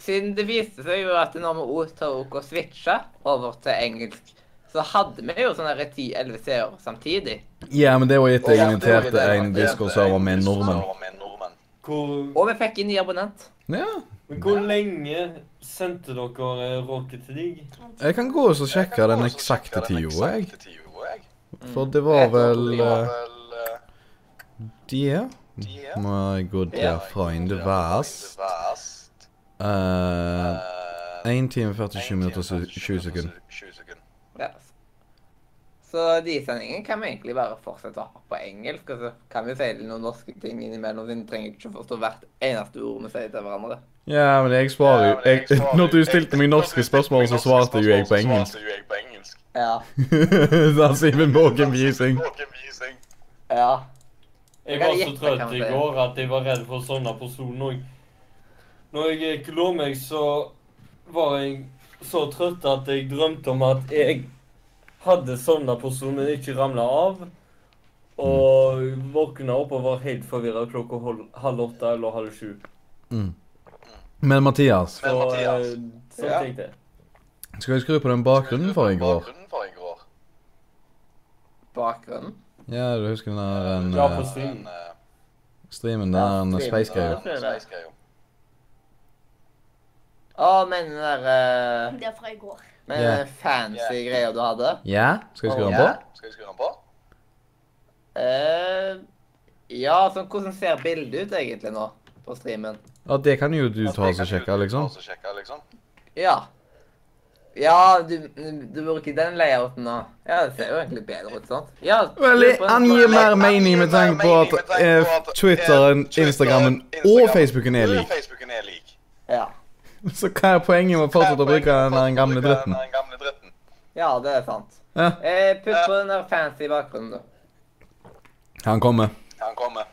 Siden det viste seg jo at når vi også tok og switcha over til engelsk, så hadde vi jo sånne 10-11 seere samtidig.
Ja, men det var etter jeg
Ja, det var
inviterte
det,
en
det var
Discord-server med nordmenn.
Discord-server med nordmenn.
Hvor,
Og vi fikk en ny abonnent.
Ja,
men hvor lenge sendte dere eh, Rocket League?
jeg kan gå og så
Jeg
sjekke
kan
den
også sjekke
eksakte
den
tida, jeg.
eksakte tida, jeg.
For det var vel
Det var
eh,
vel, eh,
Der.
de er.
My good dear friend,
Ja,
vast.
Vast.
Eh,
Eh,
1 time 47
en
minutter og
time,
20 sekunder.
20 sekunder.
Ja. Så de sendingene kan vi egentlig bare fortsette å ha på engelsk, og så kan vi si noen norske ting innimellom, siden vi trenger ikke forstå hvert eneste ord vi sier til hverandre.
Ja, men jeg svarer jo jeg, (laughs) Når du stilte meg norske spørsmål, så svarte jo jeg på engelsk. (laughs)
Så svarte jo jeg på engelsk.
Ja.
Da sier vi Morgenvising.
Vågenvising.
Ja.
Jeg
Jeg
var
kan
så
gjette, kan
trøtt
man
i
si.
går at jeg var redd for sånne personer òg. Når jeg ikke lå meg, så var jeg så trøtt at jeg drømte om at jeg hadde sånne personer ikke ramla av. Og våkna opp og var helt forvirra klokka hol- halv åtte eller halv sju.
Men Mathias,
Så
Men Mathias,
eh, sånn
Ja.
tenkte jeg.
skal jeg skru på den bakgrunnen for i går?
Bakgrunnen for i går.
Bakgrunnen.
Ja, du husker den der den,
Ja, på
eh,
stream.
Den, eh,
streamen der, den space-greia?
den sveisgreia.
Å, men den der eh,
Det er fra i går.
men
Ja.
den fancy
Ja.
greia du hadde.
Ja? Skal jeg skru den
Ja.
på?
Skal vi skru den på?
Eh, ja, sånn hvordan ser bildet ut egentlig nå på streamen?
Ja, det kan jo du ta og sjekke, liksom.
Ta oss og sjekke, liksom.
Ja. Ja, du, du bruker den layouten nå. Ja, det ser jo egentlig bedre ut, sant? Ja,
Vel,
du på en-
angir mer
Angir
mening med
mer
tanke på
mening med
at
tanke
eh,
på at, eh,
Twitteren, Instagrammen og Facebooken er lik.
Facebooken er lik.
Ja.
Så hva er poenget med å fortsette å bruke den der gamle dritten?
Den gamle dritten.
ja, det er sant.
Ja,
Eh, putt på den der fancy bakgrunnen, du.
han kommer.
Han kommer.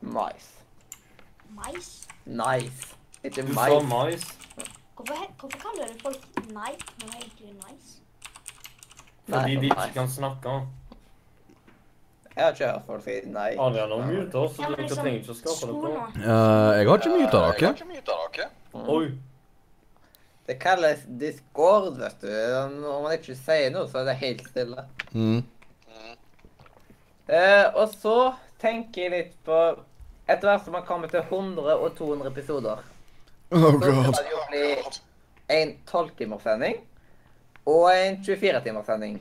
Nice.
Mais?
Nice. Ikke
Du sa
nice.
mais.
Hvorfor, he- hvorfor kaller du folk nei når det egentlig er nice?
Fordi
Nei,
de ikke
mais.
kan snakke.
Jeg har ikke hørt folk si nei.
Adrian har mute oss, så
Ja, men
dere
liksom,
trenger ikke å skape
sko
noe.
nå.
Eh, jeg har ikke mye av
Jeg Eh, har
dere.
ikke mye av dere.
Oi.
Det kalles discord, vet du. Når man ikke sier noe, så er det helt stille.
Mm.
Mm.
Eh, og så tenker jeg litt på Etter hvert som man kommer til 100 og 200 episoder,
Oh
så skal det jo bli en 12-timerssending og en 24-timerssending.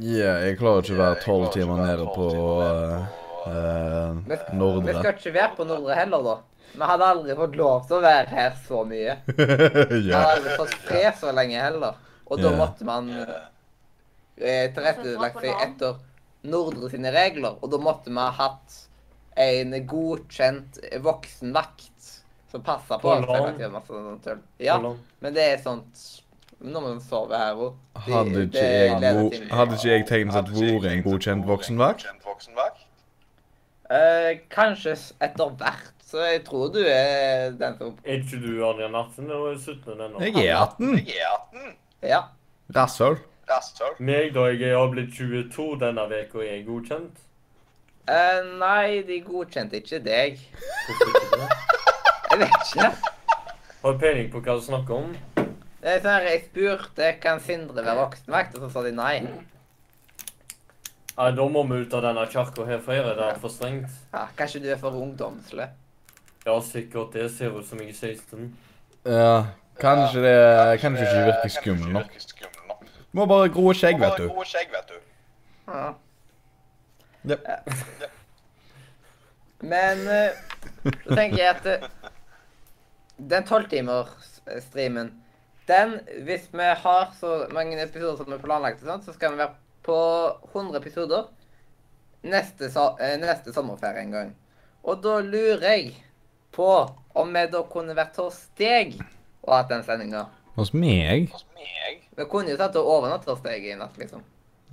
Ja, jeg klarer ikke å være tolv timer nede på eh,
Vi,
eh,
vi
Nordre.
skal ikke være på Nordre heller, da. Vi hadde aldri fått lov til å være her så mye. Vi
(laughs) ja.
hadde aldri fått fred så lenge heller. Og da
Ja.
måtte man eh, tilrettelagt seg etter Nordre sine regler, og da måtte vi ha hatt en godkjent voksen vakt som passa på.
På
oss,
LAN.
jeg kan ikke gjøre masse sånt tull. Ja,
På LAN.
men det er sånt Når man sover her òg.
Hadde ikke jeg, vo- hadde ikke jeg tegnet at vært en godkjent voksenvakt?
Godkjent voksenvakt?
Eh, Kanskje s- etter hvert, så jeg tror du er den som
Er ikke du Adrian Artsen? Eller er du 17 ennå?
Jeg er 18.
Jeg er 18.
Ja.
Rasshøl.
Rasshøl.
Meg, da jeg har blitt 22 denne uka, er jeg godkjent.
Eh, nei, de godkjente ikke deg.
Hvorfor ikke det?
Jeg vet ikke.
Har du peiling på hva du snakker om?
Det er sånn her, Jeg spurte kan Sindre være voksenvakt, og så sa de nei.
Nei, da må vi ut av denne kirka her, for her er det for strengt.
Ja, kanskje du er for ungdomslig.
Ja, sikkert. Det ser ut som jeg er 16.
Ja, kanskje det Kanskje ikke virker skummel nok. Må bare gro skjegg, vet du.
Gode skjegg, vet du.
Ja.
Jep.
Men eh, så tenker jeg at eh, den tolvtimersstreamen Den, hvis vi har så mange episoder som er planlagt, og sånt, så skal vi være på 100 episoder neste, so eh, neste sommerferie en gang. Og da lurer jeg på om vi da kunne vært hos deg og hatt den sendinga.
Hos meg?
Hos meg.
Vi kunne jo tatt og overnattet hos deg i natt, liksom.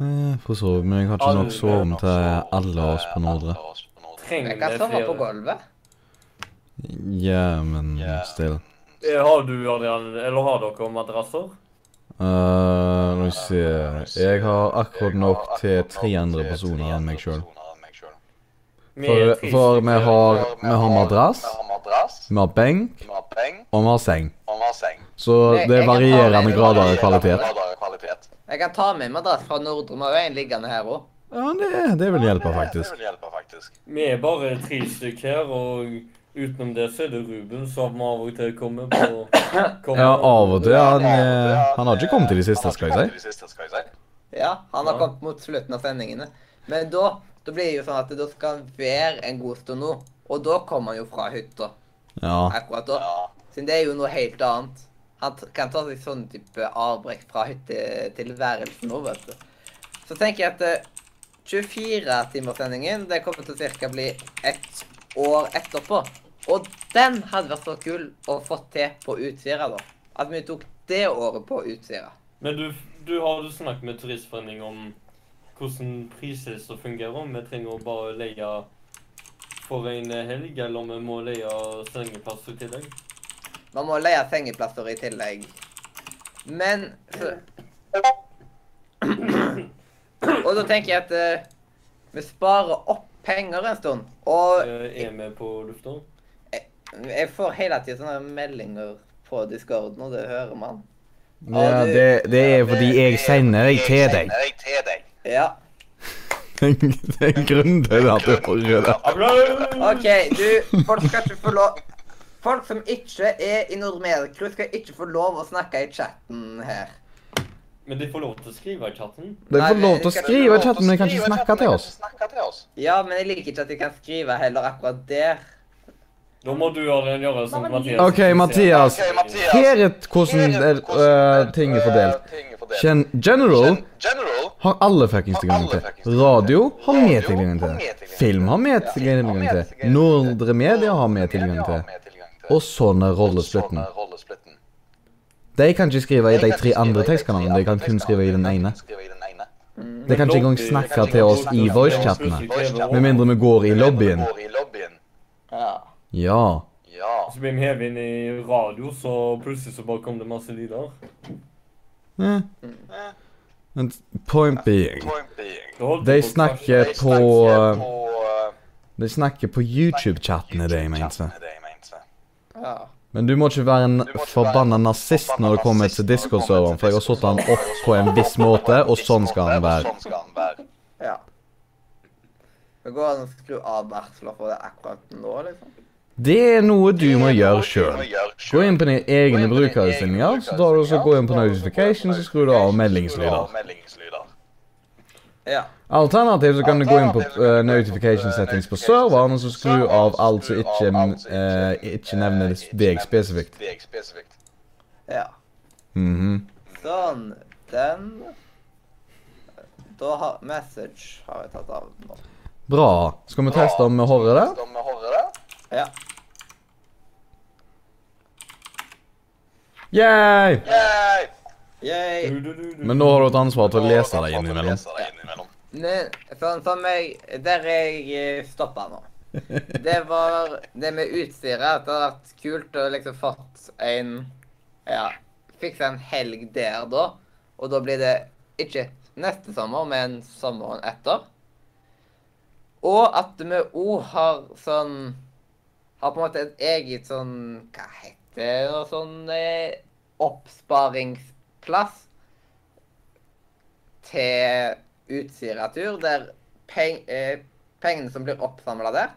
Eh, For så vidt, men jeg har ikke nok sovet til alle oss på Nordre.
Alle oss på Nordre.
Trenger
Jeg kan
vi
sove på
flere?
gulvet.
Ja, men still.
Eh, Har du, Adrian, eller har dere madrasser?
Eh, Nå skal vi se Jeg har akkurat nok til tre andre personer enn meg sjøl. For,
Med
for vi
tidsstykker.
har, vi har madrass,
Vi har madrass,
vi har benk,
vi har peng,
og vi har seng.
og vi har seng.
Så det er varierende grader av kvalitet.
Grader av kvalitet.
Jeg kan ta med madrass fra Nordre Marøyen liggende her òg.
Ja, det, det vil hjelpe,
Det
faktisk.
vil hjelpe, faktisk.
Vi er bare tre stykker her, og utenom det så er det Ruben som av og til kommer
(coughs)
på kommer.
Ja, av og til. Han, eh, han har ikke kommet til de siste, skal jeg si.
De siste, skal jeg si.
Ja, han har
Ja.
kommet mot slutten av sendingene. Men da, da blir det jo sånn at da skal han være en god stund nå. Og da kommer han jo fra hytta.
Ja.
akkurat da.
Ja.
Siden det er jo noe helt annet. Han t- kan ta seg sånn type avbrekk fra hyttetilværelsen nå, vet du. Så tenker jeg at eh, 24-timerssendingen det kommer til å ca. bli ett år etterpå. Og den hadde vært så kul å få til på Utsira, da. At vi tok det året på Utsira.
Men du, du har du snakket med Turistforeningen om hvordan prislista fungerer? Om vi trenger å bare leie for en helg, eller om vi må leie sengeplasser i tillegg?
Man må leie sengeplasser i tillegg. Men så... Og da tenker jeg at eh, vi sparer opp penger en stund. Og
Eh, Er vi på lufta?
jeg får hele tiden sånne meldinger på Discord nå, det hører man.
Ja, det, det er fordi jeg sender deg til deg. (laughs)
Jeg til deg.
Ja.
Tenk, det er en grunn til at du får røde.
OK, du, folk skal ikke få lov Folk som ikke er i Nordmedicrew, skal ikke få lov å snakke i chatten her.
Men de får lov til å skrive i chatten.
Dere får lov til å skrive i chatten, men dere kan
Skriv
ikke
i
snakke
chatten,
til
men
oss.
kan ikke snakke til oss.
Ja, men jeg liker ikke at de kan skrive heller akkurat der.
Da må du Adrian, gjøre som Mathias.
OK, Mathias.
Ok, Mathias.
Her er hvordan er, øh, ting er fordelt.
Ting er fordelt.
Gen General
Gen- General
har alle fuckings tilgang til. Radio har vi tilgang til. Film har vi tilgang til. Nordre Media har vi tilgang til. Og sånn er rollesplitten.
Sånn er rollesplitten.
De kan ikke skrive i de tre andre tekstkanalene, de kan kun skrive i den ene.
Skrive i den ene.
De kan ikke engang snakke til oss i voicechattene. Med mindre vi går i lobbyen.
Går i lobbyen.
Ja.
Ja.
Ja.
Så blir vi hevet inn i radio, så plutselig så bare kom det masse lyder.
Eh. Men Point being
Point being.
Da holdt
De
vi på å
snakker-
krasje.
på,
eh,
eh,
på
De snakker på YouTube-chatten, er det jeg mente.
eh, det jeg mente.
ja.
Men du må ikke være en
Du må ikke
forbanna
være en
nazist når det
forbanna
kommer
nazist
til
når det kommer
Discord-serveren,
til
for jeg har satt han opp på en (laughs) viss måte, og sånn skal han være.
Sånn skal han være.
ja. Det går an å skru av varsler for det akkurat nå, liksom.
Det er noe du må gjøre sjøl.
Du må gjøre selv.
Gå inn på dine egne
Gå inn på dine
brukerstillinger,
egne
så tar du så
brukerstillinger,
gå inn på
så går du
notification, så skrur du av
Skru
meldingslyder.
av meldingslyder.
Ja.
Alternativt så kan du gå inn på eh, notification settings på serveren, og så skru av alt som ikke, eh, ikke nevner deg spesifikt.
Deg spesifikt.
Ja.
Mhm.
Sånn. Den Da har Message har jeg tatt av nå.
Bra. Skal vi teste om vi hører det?
Teste om vi hører det.
Ja.
Yay!
Yay!
Yay.
Du, du, du, du.
Men nå har du et ansvar til å lese deg innimellom.
Lese deg innimellom.
Men sånn som jeg Der jeg stoppa nå. Det var det med utstyret. At det hadde vært kult å liksom fått en Ja, fikse en helg der, da. Og da blir det ikke neste sommer, men sommeren etter. Og at vi òg har sånn Har på en måte et eget sånn Hva heter det? og Sånn eh, oppsparingsplass til Utsira-tur, der peng, eh, pengene som blir oppsamla der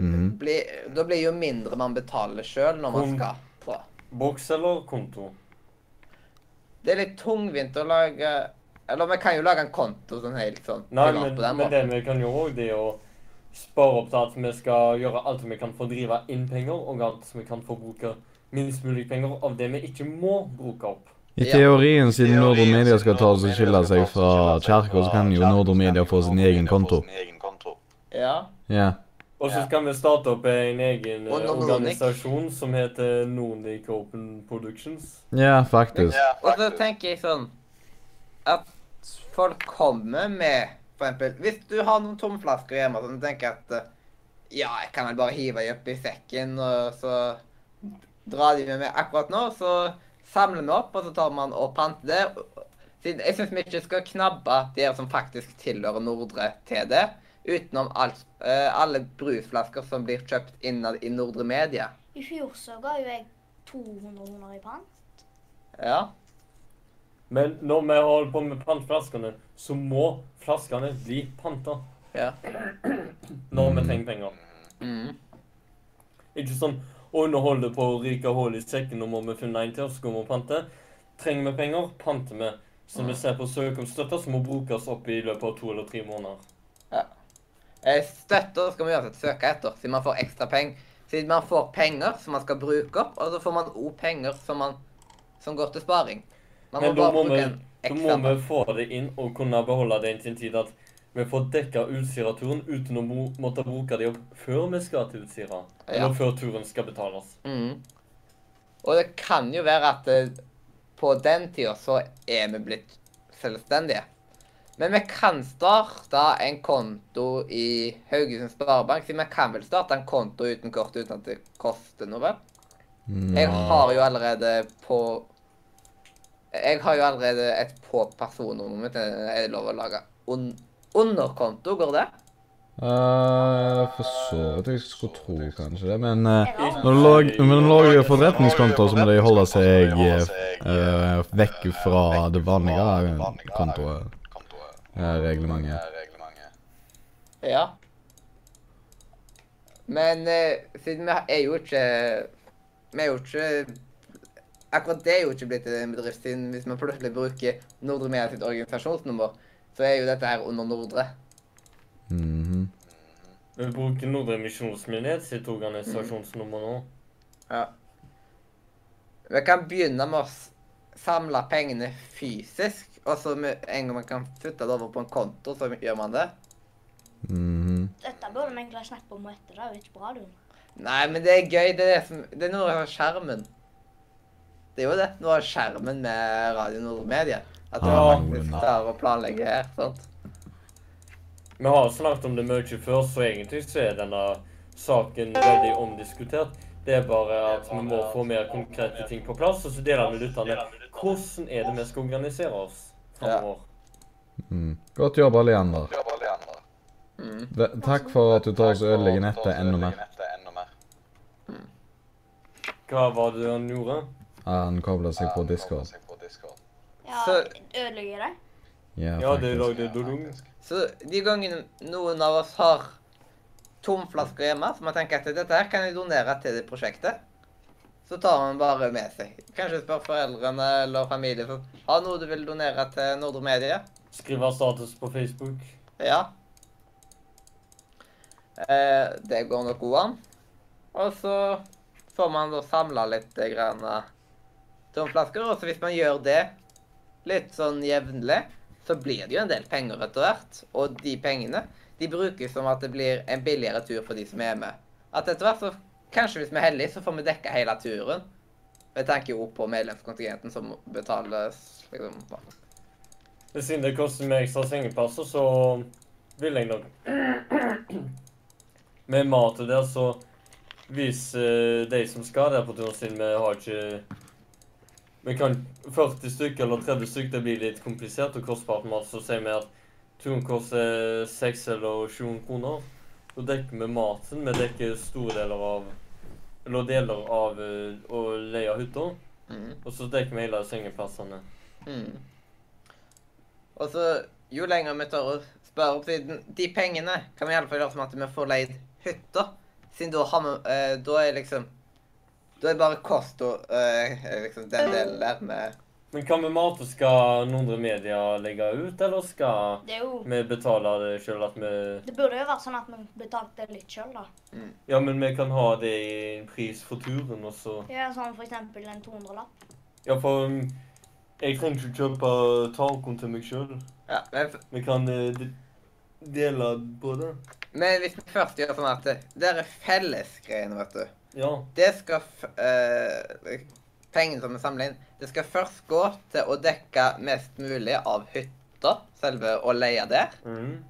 Mhm.
blir, Da blir jo mindre man betaler sjøl når man
Kon-
skal på.
Boks eller konto?
Det er litt tungvint å lage Eller vi kan jo lage en konto sånn helt sånn
Nei,
privat
men,
på den
men det
måten.
vi kan gjøre òg, det er å spare opp til at vi skal gjøre alt vi kan for å drive inn penger, og alt vi kan forbruke minst mulig penger av det vi ikke må bruke opp.
I teorien, siden Nordre Media
altså
skal ta oss og skille seg fra kirka, så kan jo Nordre Media få sin egen konto.
Sin egen konto.
Ja.
Ja.
Og så
Ja.
skal vi starte opp en egen eh,
Og Nordic.
organisasjon som heter Nordic Open Productions.
ja, faktisk.
Ja,
Og så
faktisk.
tenker jeg sånn At folk kommer med For eksempel, hvis du har noen tomflasker hjemme sånn, tenker jeg at eh, Ja, jeg kan vel bare hive dem oppi sekken, og så dra de med meg akkurat nå. Så samler vi opp, og så tar man og panter det. Siden jeg syns vi ikke skal knabbe de her som faktisk tilhører Nordre til det. Utenom alt, eh, alle brusflasker som blir kjøpt innad i Nordre Media.
I fjor så ga jo jeg 200 kroner i pant.
Ja.
Men når vi holder på med pantflaskene, så må flaskene bli panta.
Ja.
Når vi trenger penger.
Mm.
Ikke sånn å nå holder på å ryke hull i sekken, nå må vi finne en til, så skal vi pante. Trenger vi penger, panter vi. Så vi ser på søk om støtte, som må brukes opp i løpet av to eller tre måneder.
Eh, Støtter skal man uansett søke etter, siden man får ekstra penger. Siden man får penger som man skal bruke opp, og så får man òg penger som, man, som går til sparing. Man må
Men da
bare
må
bruke
vi-
en
Da må
ekstra
vi få det inn og kunne beholde det inntil en tid at vi får dekka Utsira-turen uten å mo- måtte bruke det opp før vi skal til Utsira. Eller
Ja.
før turen skal betales.
Mm. Og det kan jo være at eh, på den tida så er vi blitt selvstendige. Men vi kan starte en konto i Haugesund Sparebank, siden vi kan vel starte en konto uten kort uten at det koster noe, vel? Jeg har jo allerede på Jeg har jo allerede et på personnummeret mitt. Er det lov å lage un underkonto? Går det?
Eh, for så vidt. Jeg skulle tro kanskje det, men eh,
Jeg
når
har
du log- men lager jo forretningskonto, så må de holde seg
eh,
eh, vekk fra det vanlige eh, kontoet.
kontoet.
eh, reglementet.
Eh, reglementet.
Ja. Men eh, siden vi er jo ikke Vi er jo ikke Akkurat det er jo ikke blitt en bedrift, siden hvis vi plutselig bruker Nordre Media sitt organisasjonsnummer, så er jo dette her under Nordre.
Mhm.
Vi bruker Nordre misjonsmyndighet sitt organisasjonsnummer nå.
Ja. Vi kan begynne med å s- samle pengene fysisk, og så med en gang man kan flytte det over på en konto, så gjør man det.
Mhm.
Dette burde vi egentlig ha snakket om etter. Det er jo ikke bra, du.
Nei, men det er gøy. Det er, det som, det er noe av skjermen. Det er jo det. Noe av skjermen med Radio Nordre Media. At du
Ah,
faktisk
Jonas.
klarer å planlegge her. sant?
Vi har snakket om det mye før, så egentlig så er denne saken veldig omdiskutert. Det er bare at vi må få mer konkrete ting på plass, og så deler vi lytterne. Hvordan er det vi skal organisere oss fremover?
Mm. Godt jobba, Leander.
Det var bare Leander.
Mm.
Ve- Takk for at du tar oss og ødelegger
Takk for
nettet
at du
enda
ødelegger
mer.
nettet enda mer.
Hva var det han gjorde?
Han kobler seg på
Han kobler
Discord.
seg på Discord.
Ja,
Så-
ødelegger jeg det?
Ja,
Ja, det
faktisk.
lagde dodung.
faktisk.
Så de gangene noen av oss har tomflasker hjemme, så man tenker at dette her kan jeg donere til det prosjektet, så tar man bare med seg. Kanskje spør foreldrene eller familie sånn Har noe du vil donere til Nordre Media?
Skrive status på Facebook.
Ja. Eh, det går nok god an. Og så får man da samla litt eh, grann eh, tomflasker, og så hvis man gjør det litt sånn jevnlig, så blir det jo en del penger etter hvert. Og de pengene de brukes som at det blir en billigere tur for de som er med. At etter hvert så Kanskje hvis vi er heldige, så får vi dekka hele turen. Jeg tenker jo på medlemskontingenten som betales liksom.
Men Siden det koster meg ekstra sengeplasser, så vil jeg nok Med mat og der, så hvis eh, de som skal der på turen sin, vi har ikke Vi kan 40 stykker eller 30 stykker, det blir litt komplisert og kostbart mat, så sier vi at turen koster 6 eller 700 kroner. Da dekker vi maten, vi dekker store deler av Eller deler av eh, å leie hytta,
Mm.
og så dekker vi hele sengeplassene.
Mm. Og så, jo lenger vi tør å spare opp siden de pengene, kan vi i alle fall gjøre som at vi får leid hytta. Siden da har vi eh, Da er liksom Da er bare kost og eh, liksom den delen der med
Men hva med mat? Skal Nordre Media legge ut, eller skal
Det er jo
vi betale det sjøl at vi
Det burde jo vært sånn at vi betalte litt sjøl, da.
Ja, men vi kan ha det i en pris for turen, og så
Ja, sånn for eksempel en 200-lapp.
Ja, for um, jeg trenger ikke kjøpe tacoen til meg sjøl.
Ja, men, f-
Vi kan eh, de- dele på det.
men hvis vi først gjør sånn at det- det er fellesgreiene, vet du
Ja.
Det skal f eh, Pengene som er samla inn, det skal først gå til å dekke mest mulig av hytta, selve å leie der.
Mm.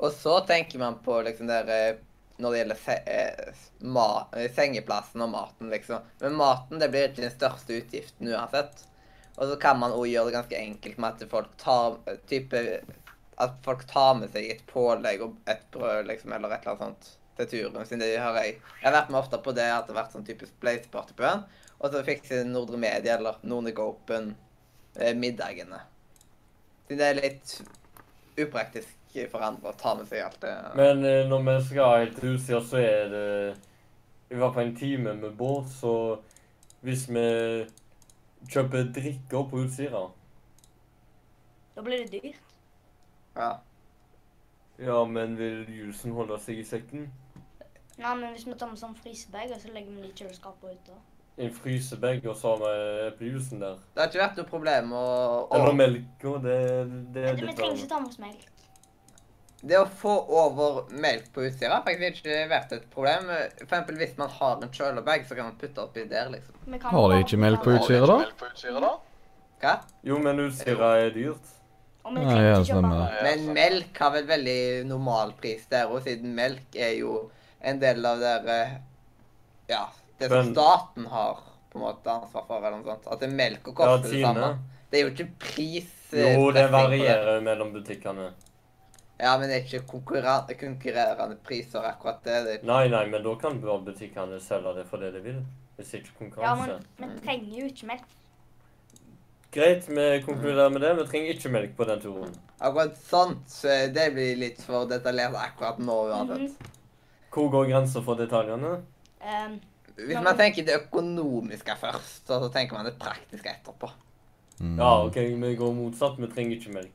Og så tenker man på liksom der eh, når det gjelder se eh, s- ma eh, sengeplassen og maten, liksom. Men maten det blir ikke den største utgiften uansett. Og så kan man også gjøre det ganske enkelt med at folk tar, eh, type, at folk tar med seg et pålegg og et brød liksom, eller et eller annet sånt til turen sin. Det hører jeg. Jeg har vært med ofte på det at det har vært sånn typisk blazeparty på øen. Og så fikser Nordre Media eller Nordnorge Open eh, middagene. Siden det er litt upraktisk for andre å ta med seg alt det.
Men eh, når vi skal helt til Utsira, så er det i hvert fall en time med båt, så hvis vi kjøper drikker på Utsira
Da blir det dyrt.
Ja.
Ja, men vil jusen holde seg i sekken?
Nei, men hvis vi tar med sånn frysebag, og så legger vi den i kjøleskapet ute.
En frysebag, og så har vi eplejusen der.
Det har ikke vært noe problem å, å
Eller melka. Det, det er
Men vi
litt
trenger ikke
annet.
ta med oss melk.
Det å få over melk på Utsira har faktisk ikke vært et problem. For eksempel hvis man har en kjølebag, så kan man putte oppi der, liksom.
Vi kan
Har de
bare-
ikke melk på
Har vi
Utsira,
ikke
da?
melk på Utsira, da?
Hva?
Jo, men Utsira er dyrt.
Og vi
Ja,
trenger
ja,
ikke kjøpe
stemmer det.
Ja,
Men
sant.
melk har vel veldig normal pris der òg, siden melk er jo en del av det eh, Ja, det som
Men-
staten har på en måte ansvar for, eller noe sånt. At det er melk og
Ja,
koster det
Tine.
samme. Det er jo ikke pris eh,
Jo, det
pressing på
varierer mellom butikkene.
Ja, men det er ikke konkurran- konkurrerende priser, akkurat det. det er...
Nei, nei, men da kan bare butikkene selge det for det de vil. Hvis ikke
Ja,
konkurranse.
men vi trenger jo ikke melk.
Greit, vi konkluderer med det. Vi trenger ikke melk på den turen.
Akkurat sånt. så Det blir litt for detaljert akkurat nå uansett.
Mhm.
Hvor går grensa for detaljene?
Ehm,
Hvis
Men-
man tenker det økonomiske først, og så tenker man det praktiske etterpå.
Mm.
Ja, OK, vi går motsatt. Vi trenger ikke melk.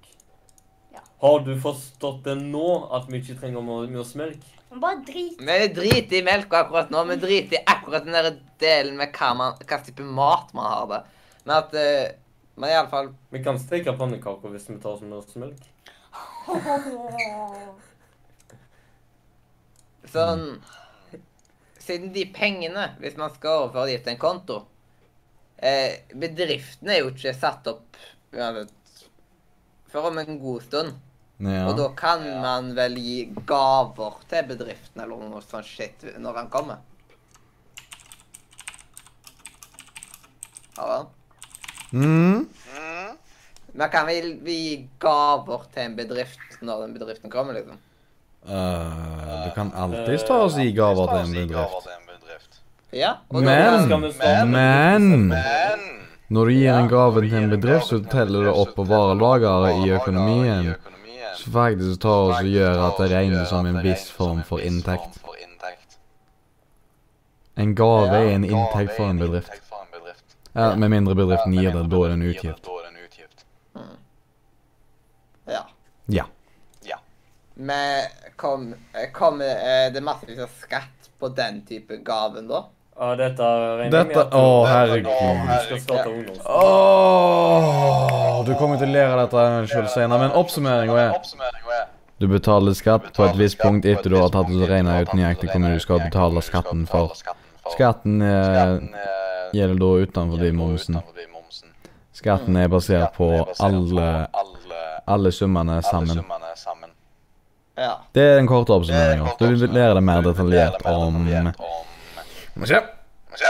Ja.
Har du forstått det nå, at vi ikke trenger med med oss melk?
men bare drit. (laughs)
Vi driter i melka akkurat nå, vi driter i akkurat den der delen med hva, man, hva type mat man har det. Men at eh, man iallfall
Vi kan steke pannekaker hvis vi tar oss med oss melk.
sånn Siden de pengene, hvis man skal overføre de til en konto eh, Bedriftene er jo ikke satt opp uansett før om en god stund. Og da
Ja.
kan
Ja.
man vel gi gaver til bedriften eller noe sånt shit når han kommer. Ja vel.
Mm.
Mm.
Men kan vi, vi gi gaver til en bedrift når den bedriften kommer, liksom?
Eh, du kan alltids ta og si gaver til en bedrift. Mm.
til en bedrift.
Ja. og da-
skal
Men
vi starte med
Men-
Men
når du gir en gave
når
til
du gir
en bedrift, så
gave til en
teller det
bedrift,
opp på
så teller det opp på
varelageret i
varelageret
økonomien.
i økonomien.
Så faktisk tar det og
Faktisk
gjør
tar
at det
og gjør
regnes
at
som en
det
viss
regnes som
form
en
for
viss
inntekt.
form for inntekt.
En gave er en
Gave
inntekt for
er
en bedrift.
inntekt for en bedrift.
Ja, med mindre bedriften
Ja,
gir
men
det,
mindre
da er det en
bedriften gir
utgift.
Da er det en utgift.
ja.
Ja.
Men kom, eh, kom eh, det massevis av skatt på den type gaven, da?
Ja, dette regner jeg med
Dette
at
Å,
du-
herregud.
du skal starte ungdoms...
Åh, du kommer til å lære dette selv senere, men oppsummeringen er
Oppsummeringen er
Du betaler skatt på et visst punkt etter du har tatt og regna ut nøyaktig hvor
hvor
mye du skal betale skatten for.
Skatten
Skatten eh,
eh,
gjelder da utenfor
gjelder
de momsen.
utenfor de momsen.
Skatten er basert på
Skatten er basert
alle,
på alle,
alle summene
alle
sammen.
summene sammen.
Ja.
Det er den korte
Det er en
oppsummeringen.
kort
Du vil
oppsummering.
lære det mer
Du vil lære
detaljert
mer
om
detaljert om-
Må vi se.
Må vi se.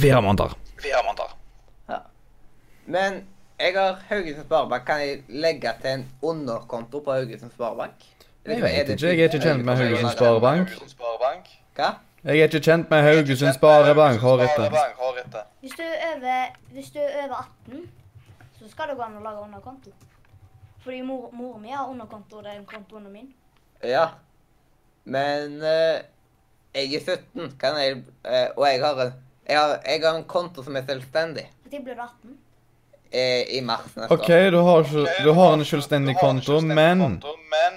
Fire måneder.
Fire måneder.
Men jeg har Haugesund Sparebank. Kan jeg legge til en underkonto på Haugesund Sparebank?
Jeg
Liksom,
vet
det
ikke, jeg er ikke
typisk-
kjent med Haugesund
Nei,
Sparebank.
Haugesund Sparebank.
Hva?
Jeg er ikke kjent med Haugesund Sparebank, Hårete.
Sparebank, Hårete.
Hvis du er over, hvis du er over 18, så skal det gå an å lage underkonto. Fordi mor, moren min har underkonto, og det er en konto under min.
Ja. Men eh, jeg er 17, kan jeg, eh, og jeg har, en, jeg, har, jeg har en konto som er selvstendig
Når blir du 18?
eh, i mars neste
OK, du har, ikke, du har en selvstendig konto, men
konto, men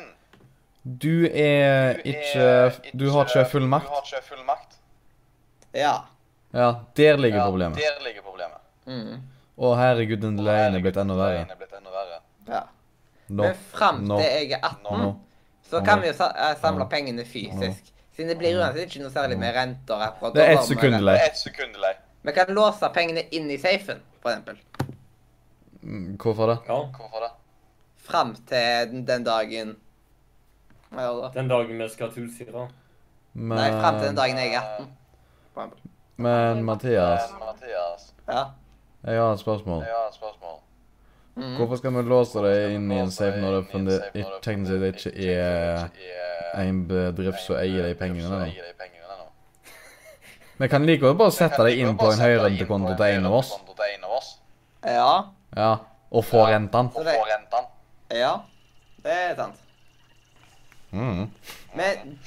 du er ikke Du har ikke full
Du har
makt.
ikke full makt.
år. Ja.
Ja, der ligger
Ja,
problemet.
Der ligger problemet.
Mm,
Å, herregud, den løgnen er blitt enda verre.
Løgn er blitt enda verre.
ja.
Nå.
Men fram til
Nå.
jeg er 18,
Nå.
så
Nå.
kan vi jo sa, eh, samle
Nå.
pengene fysisk. Siden det blir uansett ikke noe særlig med renter. akkurat
Det er
nå,
ett
bare med
sekund
renter.
delay.
Ett sekund delay.
Vi kan låse pengene inn i safen, for eksempel.
Mm, Hvorfor det?
Ja.
Hvorfor det?
Fram til den, den dagen Ja, da.
Den dagen vi skal til Utsira.
Men,
Nei, frem til den dagen jeg er 18.
men Mathias,
Eh, Mathias,
Ja.
jeg har et spørsmål.
jeg har et spørsmål.
Mm.
Hvorfor skal vi låse deg inn i en safe når det funder- i- teknisk sett ikke er en bedrift som eier de pengene?
som
da?
eier de pengene nå.
Vi kan like godt bare
Jeg
sette
kan
deg
ikke
inn
bare
på en
sette deg inn på
høyrentekonto
en
til en av oss.
høyrentekonto til en av oss,
Ja.
Ja, Og få renten.
og få renten.
Ja. Det er sant.
Mm.
Men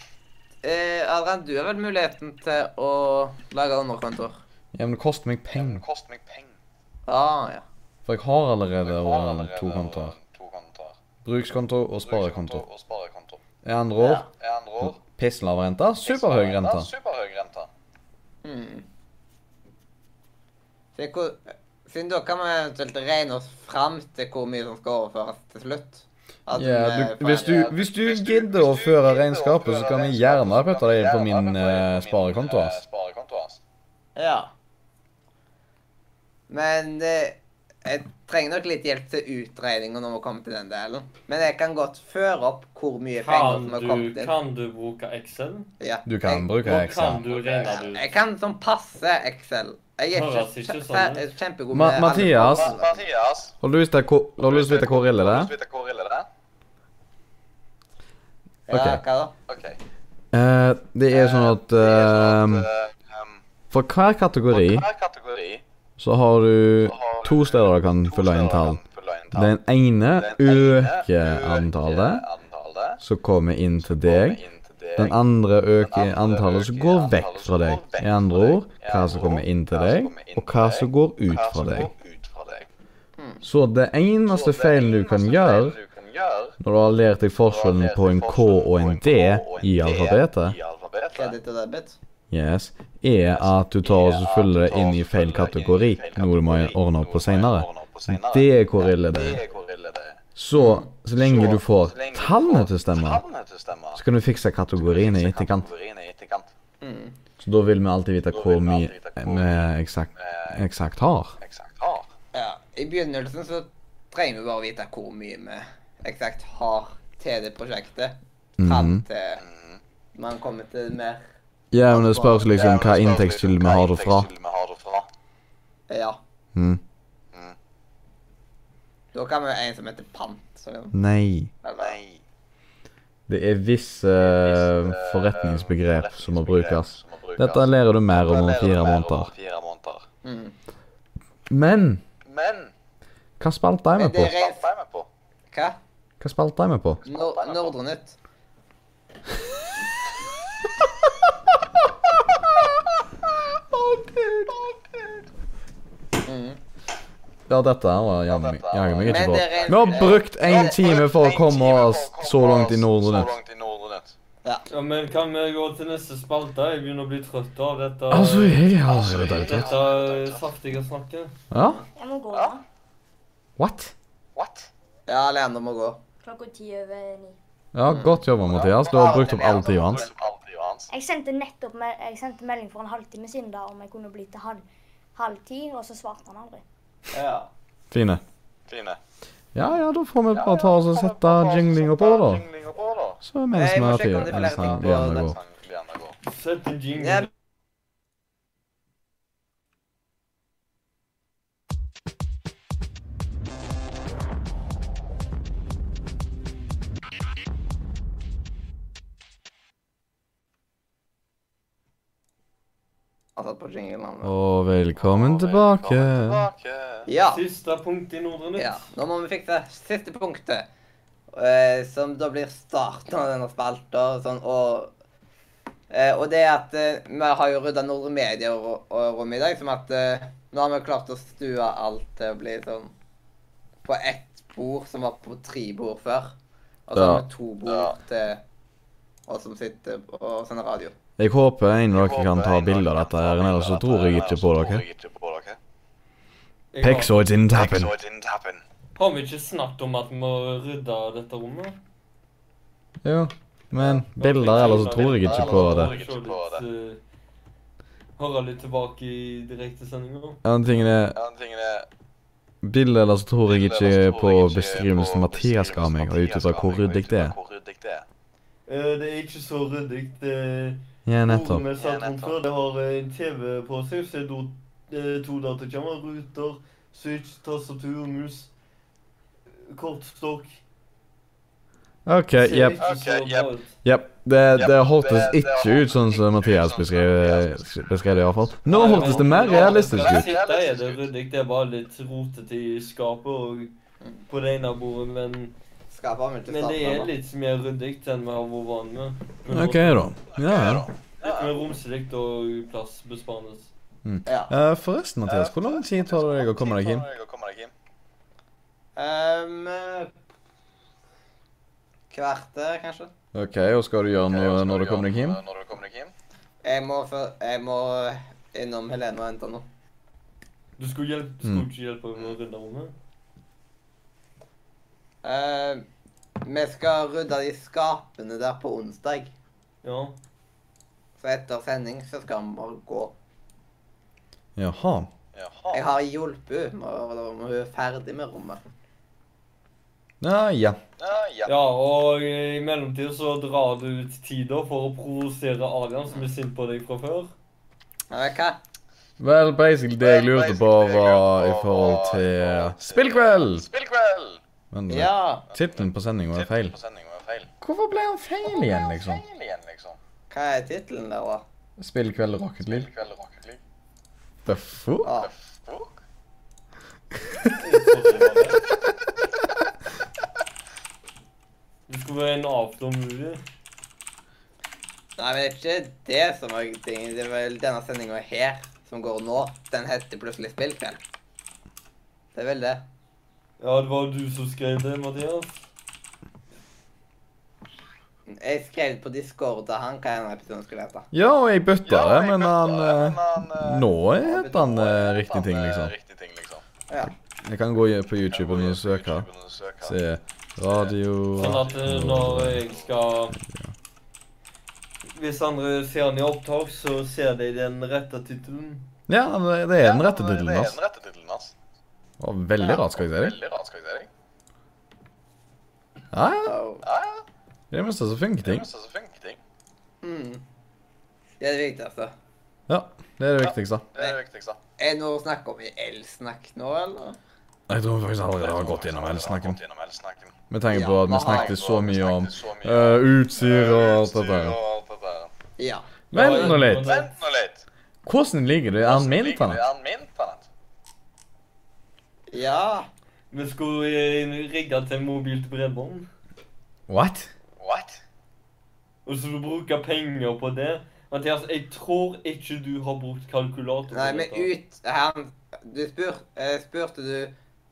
eh, Adrian, du har vel muligheten til å lage underkontor?
Ja, men det koster meg
Ja, men
penger,
det koster meg penger.
Ah, ja.
for jeg har
Jeg
allerede
har
eh,
allerede
to kontoer.
to kontoer.
Brukskonto og sparekonto.
Brukskonto Og sparekonto.
I andre ord
I andre ord
pisslav rente, superhøy rente.
Superhøy rente.
Mm. Se hvor, siden da kan vi eventuelt regne oss fram til hvor mye som skal overføres til slutt. At
Ja,
vi
du,
får-
hvis, du, hvis du gidder å føre regnskapet, så kan jeg gjerne putte det inn på min eh, sparekonto. ass.
sparekonto. ass.
Ja. Men eh, jeg trenger nok litt hjelp til utregninga når vi kommer til den delen. Men jeg kan godt føre opp hvor mye penger
Kan
som er kommet
du,
inn.
kan du bruke Excel?
Ja.
Du kan
jeg,
bruke
Og kan
Excel.
du regne det ut?
jeg kan sånn passe Excel. Jeg er
Høres
ikke,
ikke
kje-
sånn ut.
jeg er kjempegod
Ma-
alle
Mathias?
Ma-
forholdene.
Mathias.
Har du lyst til å ko- har du lyst til å vite hvor ille det
Har
er?
du lyst til å vite hvor ille det er?
Ja,
Ok.
hva da?
Ok.
Eh, Det er sånn at
Det er sånn
eh,
at, eh, um,
For hver kategori
For hver kategori
så har du
så har du
to steder du kan
to
fylle inn
steder
tall.
du kan fylle inn tall.
Den ene
Den ene
øker antallet
antallet
som kommer inn til
som
deg.
kommer inn til deg.
Den andre øker
Den andre
antallet som
øker
går
antallet
vekk
som
fra
går
deg.
vekk
I andre
fra deg.
ord
I
hva
andre
som
ord,
kommer inn til
hva som
deg,
kommer inn
og
til
hva
deg,
som går ut
hva
fra
som
deg.
går ut fra deg.
Så det eneste
Så det
feilen du kan
eneste
gjøre
feilen du kan gjøre
når du har lært deg forskjellen
når du
på
har
en
lest
K og en D
forskjellen på en K og en
i
D
alfabetet,
i alfabetet,
Kreditt og debit?
yes, er at du tar og så fyller det inn i feil kategori, noe du må ordne opp på seinere. Det er hvor ille det er.
er hvor ille det er.
Så så lenge du får
Så lenge du
tallene
får
til å stemme,
tallene til å stemme,
så kan du fikse kategoriene i etterkant.
kategoriene i etterkant.
Mm.
Så da vil vi alltid vite
Da vil
hvor
vi
mye
alltid vite hvor
vi eksakt,
Eh,
eksakt har.
Eksakt. Har.
Ja. I begynnelsen så trenger vi bare vite hvor mye vi eksakt har til det prosjektet. Fram
Mhm.
til
Mhm.
man kommer til mer
Ja, men det spørs
Ja,
liksom
men
hva
det spørs
inntektskilde vi
liksom hva
har det fra.
inntektskilde vi har det fra.
Ja.
Mm.
Da kan vi ha en som heter pant. Så det,
Nei.
eller,
Nei.
Det er visse eh, forretningsbegrep som må brukes.
som må brukes.
Dette lærer du mer om
Dette
om
lærer du
fire
mer om
måneder.
fire måneder.
mm.
Men
Men
hva spalte jeg
Men
meg på?
det er-
hva er vi på?
Hva?
Hva spalte jeg meg på?
Nor Nordre Nytt. Mm.
Ja, dette her var jammen
dette her
jammen meg ikke
var-
Men det
på.
er-
Vi har brukt én time for å
En
komme
time for å
oss
komme
så langt i
oss
Nordre
Så
Nytt.
langt i Nordre Nytt.
Ja, men kan vi gå til neste spalte? Jeg begynner å bli trøtt av dette
Altså, jeg har allerede dødd.
Dette eh, saftige snakket.
Ja?
Jeg må gå da.
What?
What?
Ja, Leander må gå.
Klokka ti over ni.
Ja,
Mm.
godt jobba, Mathias. Du har brukt opp all tida hans.
Alt i hans.
Jeg sendte nettopp me jeg sendte melding for en halvtime siden da om jeg kunne bli til halv, halv ti, og så svarte han aldri.
Ja.
Fine.
Fine.
Ja, ja, da får vi bare ta oss og sette jinglinga på, da.
Jinglinger på, da.
Så mens
Jeg
vi
må
har
sjekke
tid.
om det er
Eller
flere
snart,
ting på
vi gjerne
den
går.
Sang Liander går.
Sett en jingle.
Ja, Han satt på jinglen. han.
Og velkommen tilbake.
Velkommen tilbake.
Ja.
Siste punkt i Nordre Nytt.
ja. Nå må vi fikse siste punktet, eh, som da blir starten av denne spalta. og Sånn, og, eh, og det er at eh, vi har jo rydda Nordre Media-rommet i dag, som at eh, nå har vi klart å stue alt til å bli sånn på ett bord, som var på tre bord før. Og så
Ja.
har vi to bord til oss som sitter på sånn radio.
Jeg håper en av
Jeg
dere
håper
kan ta
en av
bilde
dere
av
kan
dette,
ta
her,
bilder
ellers
av
så
dette,
tror jeg
ellers
ikke på
så tror
dere.
jeg ikke på dere.
Jeg
Peck so it didn't happen.
So it didn't happen.
Har vi ikke snakket om at vi må rydde dette rommet?
Jo, men bilder, ellers så tror jeg ikke på det.
Jeg tror litt, eh, Høre litt tilbake i direktesendinga.
Ja, den tingen er,
Ja, den tingen er
bilder, ellers så tror jeg
Ellers så
ikke på
tror jeg ikke på
beskrivelsen Mathias ga meg, og ut
Mathias
ifra
ga
hvor
meg, og
ryddig
ut
det
ifra
er.
hvor ryddig det er.
Eh, Det er ikke så ryddig. eh, Det
Ja, nettopp.
Nettopp. Med
Ja, nettopp.
før, det har eh, en TV på seg, så er det do- eh, to datakamera, ruter, switch, tastatur, mus, kortstokk.
OK,
Ser
jepp.
ikke så
Ok,
bra
jep.
ut.
Jepp. Det,
Jep,
det holtes
det- det
ikke
holtes
ut sånn som
ikke
Mathias
ut sånn som
beskrev,
Mathias
beskrev det, iallfall. Nå holtes det mer realistisk
Ja,
ut.
Der sitter jeg, det er ryddig. Det er bare litt rotete i skapet og på det ene bordet, men,
Skaper mye
men det er
stappnavn.
litt mer ryddig enn vi har vært vant med. Men
OK, da. Ja, ja.
Litt mer romslig og plassbesparende.
Ja.
Eh, forresten, Mathias, hvor lang tid tar det deg å komme deg hjem?
å komme deg
Um,
hjem?
kvarter, kanskje.
OK, og skal du gjøre noe når du kommer deg hjem?
Når du kommer deg hjem?
Jeg må, før- jeg må innom Helene og hente noe.
Du skulle, hjelpe, du
Mm.
skulle ikke hjelpe med å rydde rommet?
Eh, vi skal rydde de skapene der på onsdag.
Ja.
Så etter sending så skal vi bare gå.
Jaha.
Jaha.
Jeg har hjulpet henne med å rydde rommet. Hun er ferdig med rommet.
Ja, ja.
Ja, ja.
Ja, og i mellomtiden så drar du ut tider for å provosere Adrian, som er sint på deg fra før.
Men hva?
Vel, basically det jeg lurte på, var i forhold til Spillkveld!
Spillkveld!
Men eh,
Ja.
tittelen på sendinga var feil.
Tittelen på sendingen var feil.
Hvorfor ble han feil igjen, liksom?
Feil igjen, liksom.
Hva er tittelen der, da?
Spillkveld Rocket League.
Spillkveld Rocket League.
The fuck? (laughs)
Ah,
Fuck.
Det skulle være en aftermovie.
nei, men det er ikke det som er tingen. Det er vel denne sendinga her som går nå. Den heter plutselig Spillkveld. Det er vel det.
Ja, det var du som skrev det, Mathias.
Jeg skrev på Discord til han hva denne episoden skulle hete.
Ja, og jeg bøtta det, men han
Men
eh,
han, eh,
Nå heter han eh, riktig ting,
eh,
liksom.
Riktig ting, liksom.
Jeg kan gå på YouTube og søke.
YouTube og søke.
Se radio
Sånn at eh, når jeg skal Hvis andre ser den i opptak, så ser de den rette tittelen.
Ja, det det er den rette tittelen
Det er
hans.
den rette tittelen hans.
Og Veldig rart, skal jeg si deg.
Veldig rart, skal jeg si deg.
Ja, ja.
Oh.
Ja, ja.
Det er det meste som funker
Det
ting.
meste som funker, ting.
Mm. Det er det viktigste.
Ja, det er det viktigste.
Det er det viktigste.
Er det noe å snakke om i elsnakk nå, eller?
Jeg tror faktisk aldri det har gått gjennom hele snakken.
Gått gjennom hele snakken.
Med tanke på at vi snakket så mye om
Vi snakket så mye
eh, utstyr og alt
utstyr
dette. her.
og alt dette her.
Ja.
Men nå litt.
Vent nå litt.
Hvordan ligger det an min
Ligger det
planet?
an min planet?
Ja.
Vi skulle eh, rigge til mobilt bredbånd.
What?
What?
Og så du bruker penger på det. Mathias, jeg tror ikke du har brukt kalkulator. på
Nei, men
dette.
ut han, Du spur, eh, spurte du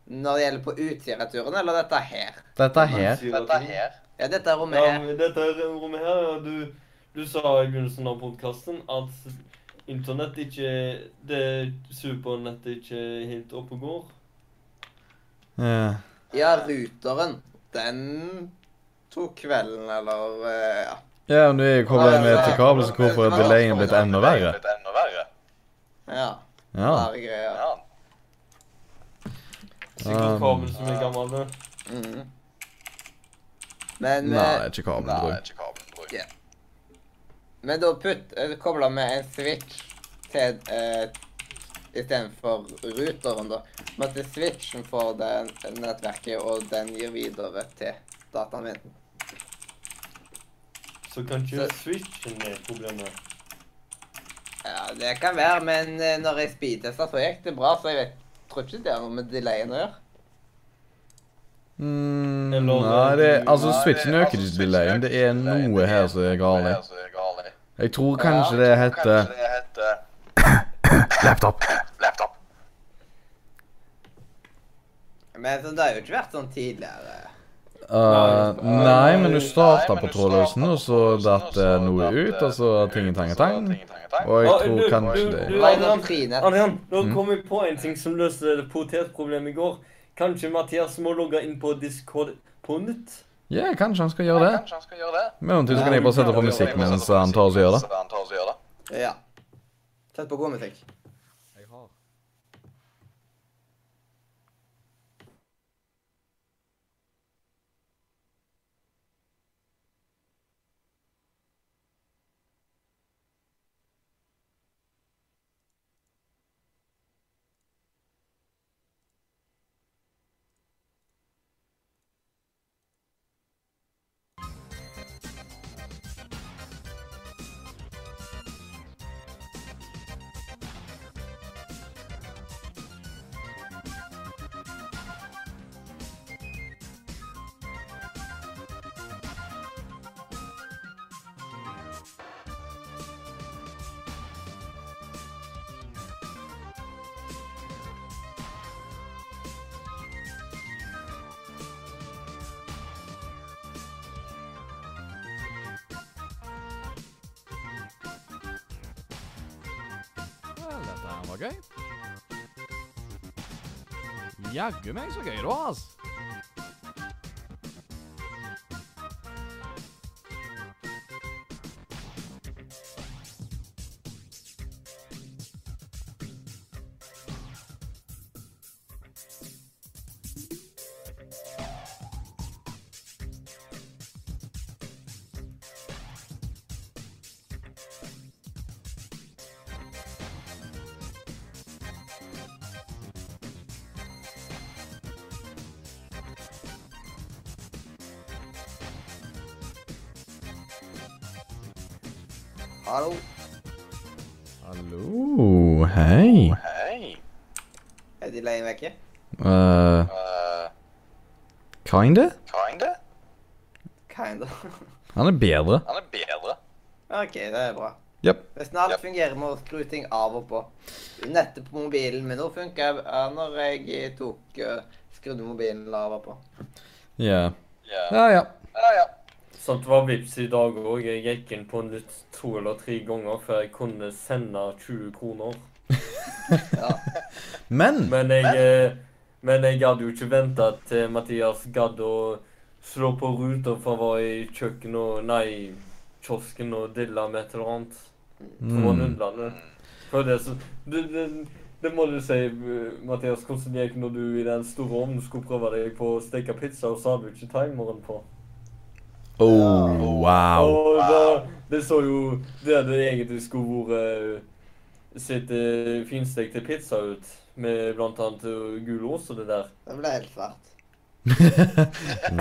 når det gjelder på Utsira-turen, eller dette her?
Dette her.
Dette her.
Ja, dette rommet
Ja,
her.
men dette er rommet her, ja, du, du sa i begynnelsen av podkasten at internett ikke Det supernettet ikke er helt oppe og går.
eh,
Ja, ruteren. Den tok kvelden, eller eh, Ja.
Ja, men det er jo koblet med til kabel, så hvorfor er delayen blitt enda verre?
Blitt enda verre.
Ja.
Ja.
Rare greier.
Ja.
Sikkert
Um,
kabel som er gammel. det.
Mm. Men,
Nei, det
eh,
er ikke kabel,
Nei,
tror jeg.
ikke kabelen, tror jeg.
Ja. men da putt, eh, kobla vi en switch til eh, Istedenfor ruteren, da. Men at switchen får det nettverket, og den gir videre til dataen min.
Så kanskje switchen er problemet.
Ja, det kan være, men eh, når jeg speedtesta, så gikk det bra, så jeg vet, tror ikke det har noe med delayen å gjøre.
Mm,
Eller-
nei, det, altså
Nei,
switchen
det-
øker
altså,
ikke
switchen
delayen. Det er
øker ikke delayen.
noe her som er
Det er
galt.
så det er galt.
Jeg tror kanskje det heter
Kanskje det heter
(coughs) Laptop.
laptop.
Men så, det har jo ikke vært sånn tidligere.
Uh, nei, men du starta
Nei,
på
men du
trådløsen, og så datt det
og så
noe
datt det
ut, eh, og så
noe ut, og
tingetang-tang.
så tingetang-tang.
Og jeg
Ah,
tror
du-
kanskje
du-
det
du-
Det var jo sånn frinett.
Adrian, nå kom jeg på en ting som løste det potetproblemet i går. Kanskje Mathias må logge inn på Discord på nytt?
Ja, kanskje han skal gjøre det.
Kanskje han skal gjøre det.
I mellomtiden kan jeg bare sette på musikk mens han tar oss og gjør det.
Så han tar oss og gjør det.
Ja. Sett på god musikk.
Faen, var gøy. Jaggu meg så gøy det var, ass.
Hallo.
Hallo, hei.
Hei.
Er de lei vekke?
Uh,
Uh,
kinda?
kinda?
Kinda. (laughs)
Han er bedre.
Han er bedre.
OK, det er bra.
Japp.
Nesten alt
Japp.
fungerer med å skru ting av og på. Nettet på mobilen min nå funka eh, når jeg tok eh, skrudde mobilen av og på.
Ja.
Ja,
Ja, ja.
ja. ja.
Sånt var vips i dag òg. Jeg gikk inn på nytt to eller tre ganger før jeg kunne sende 20 kroner.
Men
Men jeg, eh, men jeg hadde jo ikke venta til Mathias gadd å slå på ruta for han var i kjøkkenet og Nei, kiosken og dilla med et eller annet. Fra
Mm.
Lundlandet. For det, så, det, det, det må du si, eh, Mathias. Hvordan gikk det når du i den store ovnen skulle prøve deg på å steke pizza, og så hadde du ikke timeren på?
Oh, wow.
Og da, det så jo det det egentlig skulle vært sitt eh, finstekte pizza ut, med blant annet eh, gul ost og det der.
Det ble helt svart.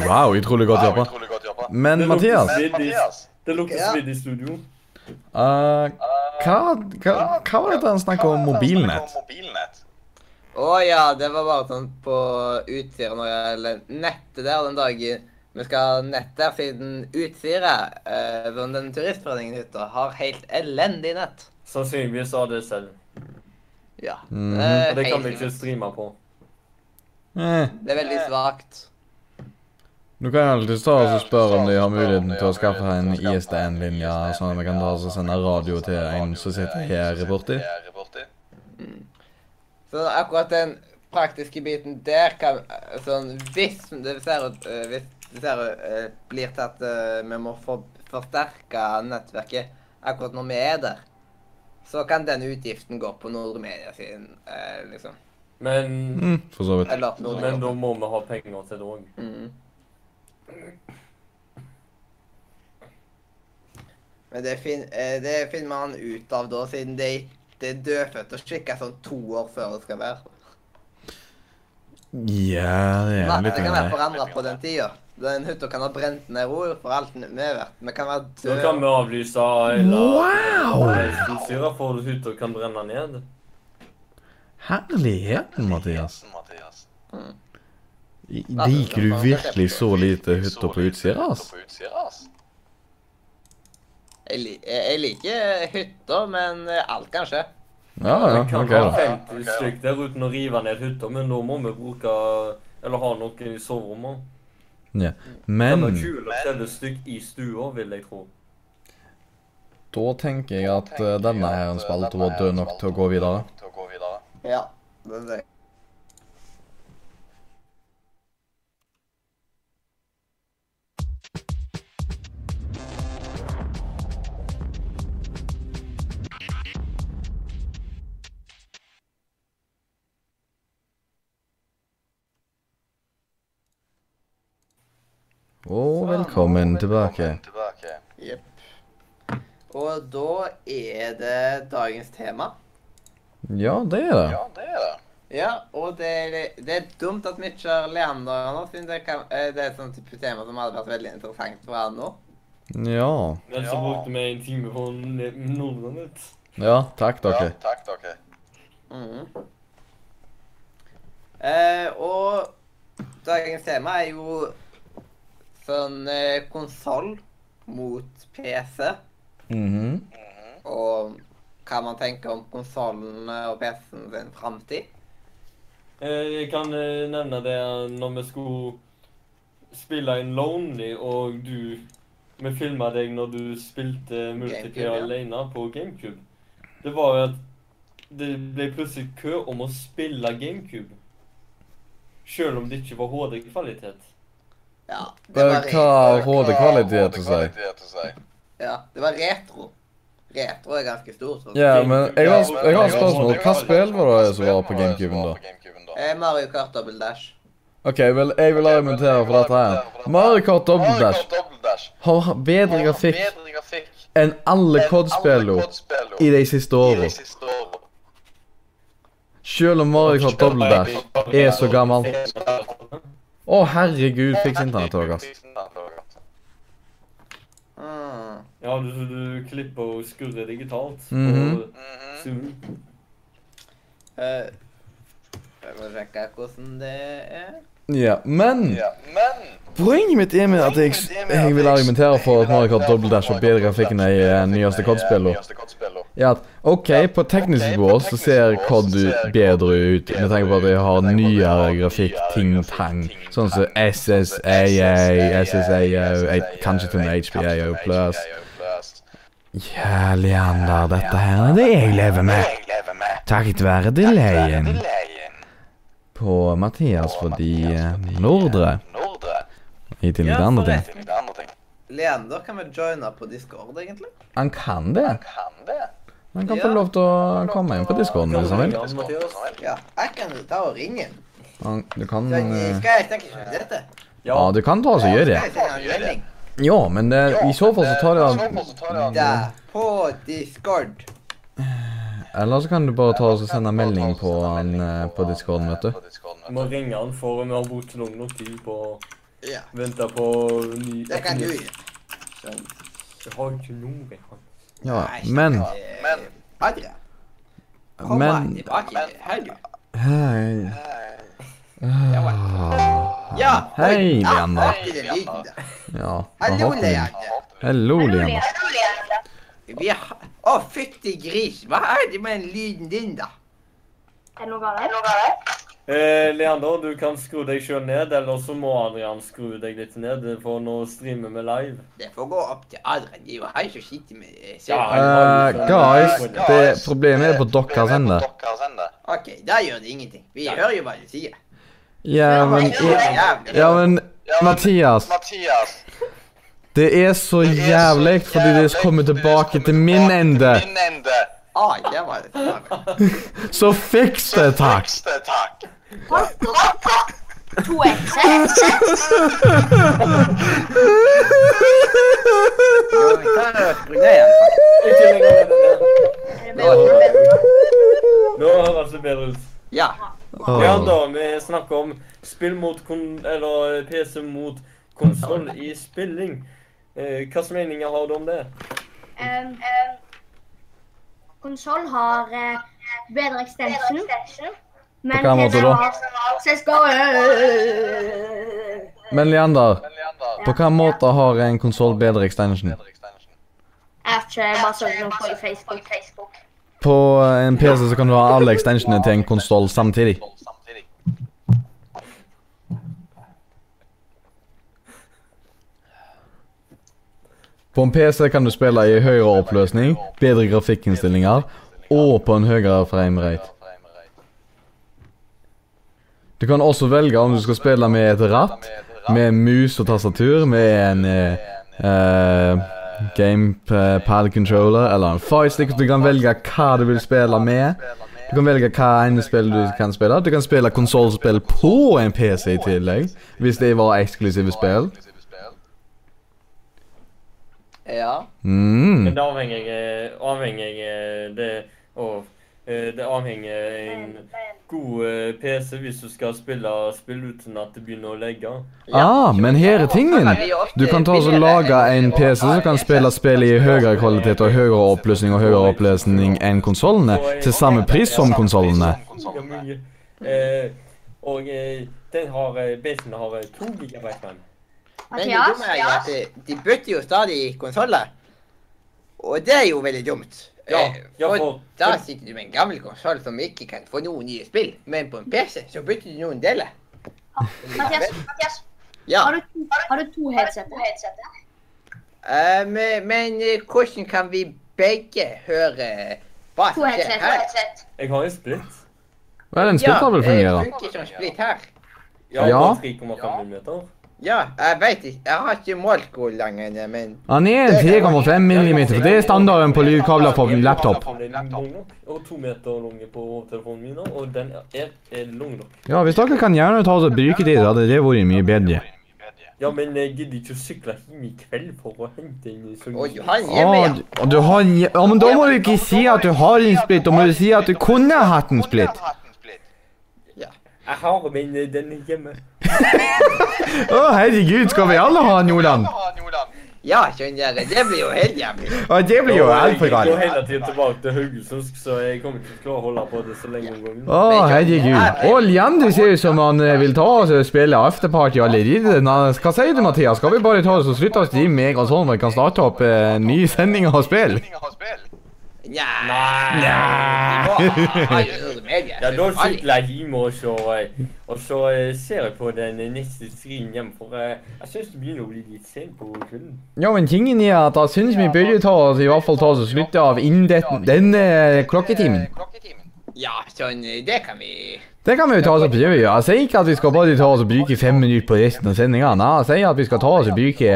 Wow, utrolig godt
Wow,
jobba.
utrolig godt jobba.
Men
Det lukter
Mathias,
Men Mathias,
Det lukter
Ja.
svidd i studio.
eh,
eh,
hva, hva, hva var dette han snakka om?
hva er det han snakker
Mobilnett?
om mobilnett?
Å ja, det var bare sånn på Utsira når jeg Eller nettet der den dagen vi skal ha nett der, siden Utsira, eh, hvor den turistforeningen ute, har helt elendig nett.
Sannsynligvis ADSL.
Ja.
Mhm.
Eh,
Og det kan vi
helt-
ikke streame på.
Eh,
Det er veldig svakt.
du kan alltids ta oss og spørre om de har muligheten til å skaffe en ISDN-linje, sånn at vi kan ta oss og sende radio til en som sitter her borti.
Her borti.
Så akkurat den praktiske biten der kan sånn, Hvis det ser ut eh, Hvis det ser ut, eh, blir til at eh, vi må for, forsterke nettverket akkurat når vi er der, så kan den utgiften gå på Nordre Media sin, eh, liksom.
Men,
Mm, for så vidt.
Eller at Nordre
men da må vi ha penger til det òg.
Mm. Men det, fin, eh, det finner man ut av da, siden det, det er dødfødt og skikka sånn to år før det skal være.
Ja, det er
Nei,
litt
det kan være
greit.
forandra på den tida. Den hytta kan ha brent ned ro for alt vi vet. Vi kan være
Nå kan
døde.
vi avlyse hele
Wow!
reiseutstyret, for hytta kan brenne ned.
Herligheten, Mathias.
Mathias.
Liker du virkelig så lite hytter på Utsira, ass?
Hytter på Utsira, ass.
Jeg, li- jeg liker hytta, men eh, alt kan skje.
Ja, ja,
Vi kan
ok,
ha
da.
50 stykk der uten å rive ned hytta, men da må vi bruke Eller ha noe i soverommet.
Ja.
Eller
Men
20 eller 30 stykk i stua, vil jeg tro.
Da tenker jeg at eh, denne her en spalte var død nok til å gå videre.
Til å gå videre.
Ja, det er det.
Og velkommen tilbake.
Velkommen tilbake.
Og da er det dagens tema.
Ja, det er det.
Ja, det er det.
Ja, og det er, det er dumt at vi ikke har Leander her nå, siden det, kan, eh, det er et sånt type tema som hadde vært veldig interessant for han nå.
Ja.
Men så
Ja.
brukte vi en time på Nordlandet.
Ja, takk, dere.
Ja, takk, dere.
Mhm. Eh, og dagens tema er jo sånn eh, konsoll mot PC.
Mhm.
Mhm.
Og hva man tenker om konsollen og PC-en sin framtid.
Eh, Jeg kan eh, nevne det når vi skulle spille inn Lonely, og du Vi filma deg når du spilte multiplayer
GameCube, ja.
alene på GameCube. Det var jo at det ble plutselig kø om å spille GameCube. Selv om det ikke var HD-kvalitet.
Ja, det
Hva
var
har
retro.
HD-kvalitet å si?
Kvalitet å si.
Ja, det var retro. Retro er ganske stort. sånn.
Ja, men jeg har,
Ja, men-
jeg har et
jeg har-
spørsmål.
jeg har-
Hva spill var det som
Hva
var
spill
på
var det som
GameCuben,
var
da?
på GameCuben da?
Eh, Mario Kart Double Dash.
OK, vel, jeg vil argumentere for dette her. Mario Kart Double
Mario
Dash
Kart Double Dash.
har bedre grafikk
Bedre grafikk
enn alle
enn alle
COD-spillene
COD-spillene
i de siste
i de
årene.
siste årene.
Selv om Mario Kart Double Dash er så gammel. Å, herregud, fiks internett òg, ass.
Fiks internett også, ass.
Mm.
Ja, du, du klipper og skurrer digitalt.
Mhm.
og
Mhm.
zoom.
Eh, Prøv å sjekke hvordan det er.
Ja, men
Ja, men
Poenget mitt er med at jeg, jeg vil argumentere for at Mario Kart Double Dash har bedre grafikk enn de eh, nyeste COD-spillene.
Nyeste COD-spillene.
Ja, at, OK, på teknisk nivå så ser COD ut- bedre ut med tanke på at jeg har nyere grafikk, ting-tang. Sånn som SSAA, SSAA, kanskje til og med HBAO pluss. Ja, Leander, dette her er det jeg lever med.
Jeg lever med.
Takket være delayen på Mathias fordi eh, Nordre,
Nordre.
i tillegg til andre ting.
Til de andre ting.
Leander, kan vi joine på Discord, egentlig?
Han kan det.
Kan det?
Han kan få lov til å komme inn på discorden hvis han vil.
Ja, Mathias.
Ja, jeg kan jo ta og ringe ham.
Han, du kan
Skal
eh,
jeg skal jeg tenke ikke på dette?
Ja, du kan ta og gjøre det.
Skal jeg sende en melding?
Ja, men eh, i så fall så tar
I så
det
fall så tar det han-
Der, på Discord.
Eller så kan du bare ta og så sende melding på han eh, på discorden, vet du.
På Discorden,
Vi
vet
må
du.
ringe han, for vi har brukt lang nok tid på å
Ja,
vente på ny
det kan du gjøre. Sånn.
Jeg har ikke nummeret hans.
Ja,
Nei,
men
eh,
Men
Adria, kom
Men
tilbake. Hei, du.
Hei.
Ja,
Hei,
ah,
Leander.
hørte det lyden der.
Ja, da
Hallo,
hopper vi.
Leander.
Hallo, Leander.
Vi har... Å, fytti gris. Hva er det med den lyden din, da?
Er det noe galt?
Eh, Leander, du kan skru deg sjøl ned, eller så må Adrian skru deg litt ned, for nå streamer vi live.
Det får gå opp til Adrian. Det er jo han som sitter med eh,
Ja,
serien.
Eh, guys, det
Guys,
problemet er på
det-
deres ende.
Problemet er på deres ende.
OK, da gjør det ingenting. Vi hører jo hva du sier.
Ja, men Ja, men Mathias,
Mathias.
det er så jævlig fordi det kommer tilbake til min ende.
Min ende.
Ah, der var det. Der var det.
Så fiks det, takk.
Fiks det, takk.
To (laughs) ekser?
Jo, vi tar og skru ned igjen.
Ikke lenger ned enn det.
Er det bedre?
Nå høres det bedre ut.
Ja.
Åh,
Leander, vi snakker om spill mot kon... eller PC mot konsoll i spilling. Eh, hva slags meninger har du om det?
Um, Konsoll har eh, bedre extension. Men
hvilken måte da?
CSGO
Men Leander,
Leander.
på hvilken måte har en konsoll bedre extension?
Bedre extension.
Jeg har ikke bare søkt noe på i Facebook.
På en PC så kan du ha alle extensionene til en konsoll samtidig.
Samtidig.
På en PC kan du spille i høyere oppløsning, bedre grafikkinnstillinger og på en høyere framerate. Du kan også velge om du skal spille med et ratt, med mus og tastatur, med en eh, eh, gamepad controller eller en firestick. Du kan velge hva du vil spille med. Du kan velge hva ene spill du kan spille. Du kan spille konsollspill på en PC i tillegg, hvis det var eksklusive spill.
Ja.
Mm.
Men det avhenger eh, avhenger eh, det av eh, Det avhenger en god eh, PC hvis du skal spille spill uten at det begynner å legge.
Ah, men her er tingen. Du kan ta og så lage en PC som kan spille spill i høyere kvalitet og høyere oppløsning og høyere oppløsning enn konsollene, til samme pris Sånn som konsollene.
Ja, mye. Eh, og eh, den har eh, PC-en har eh, to gigabyte RAM.
Men det dumme er jo
Mathias?
at eh, de bytter jo stadig konsoller. Og det er jo veldig dumt.
Ja,
Eh,
ja,
for
for-
da sitter du med en gammel konsoll som ikke kan få noen nye spill. Men på en PC så bytter du noen deler.
Mathias, Mathias,
Ja,
har du to, har du to headsetter?
eh, men, men eh, hvordan kan vi begge høre Hva?
To headset, to
Hæ?
headset.
Jeg har en splitt.
Vel, en splittavl
Ja,
fungerer.
jeg bruker ikke en splitt her.
Ja,
Ja.
på 3,5 mm.
Ja, jeg vet ikke. Jeg har ikke målt hvor lang den er, men
Han er 3,5 millimeter, for det er standarden på lydkabler på laptop.
Den er lang nok, og to meter lang på telefonen min, nå, og den er, er lang nok.
Ja, hvis dere kan gjerne ta oss og bruke det, så hadde det vært mye bedre.
Ja, men jeg gidder ikke å sykle hjem i kveld for å hente en sånn
Å, Johan, gi meg
Å,
den.
Ah, du- du har en jæ- Ja, men da må du ikke si at du har en splitt, da må du si at du kunne hatt en splitt.
Jeg har min eh, den er hjemme.
Å, herregud, skal vi alle ha en Nordland?
Ja, skjønner jeg. Det blir jo helt jævlig.
Ja, det blir jo
Og jeg
altfor
går
galt.
hele tiden tilbake til Haugesund, så jeg kommer ikke til å klare å holde på det så lenge om gangen.
Å, herregud. Å, Leander ser ut som han eh, vil ta oss og spille afterparty allerede. Nå, Hva sier du, Mathias? Skal vi bare ta oss og slutte å streame med en gang sånn, og vi kan starte opp eh, nye sendinger og spill?
Nja.
Ja, da sykler jeg hjem, og så, eh, og så eh, ser jeg på den eh, neste streamen hjemme, for eh, jeg synes det begynner å bli litt sent på kvelden.
Ja, men tingen er at jeg syns vi burde ta oss i hvert fall ta oss og slutte av innen det- denne klokketimen.
Ja, sånn, det kan vi
Det kan vi jo ta oss og prøve. Jeg sier ikke at vi skal bare ta oss og bruke fem minutter på resten av sendinga. Nei, jeg sier at vi skal ta oss og bruke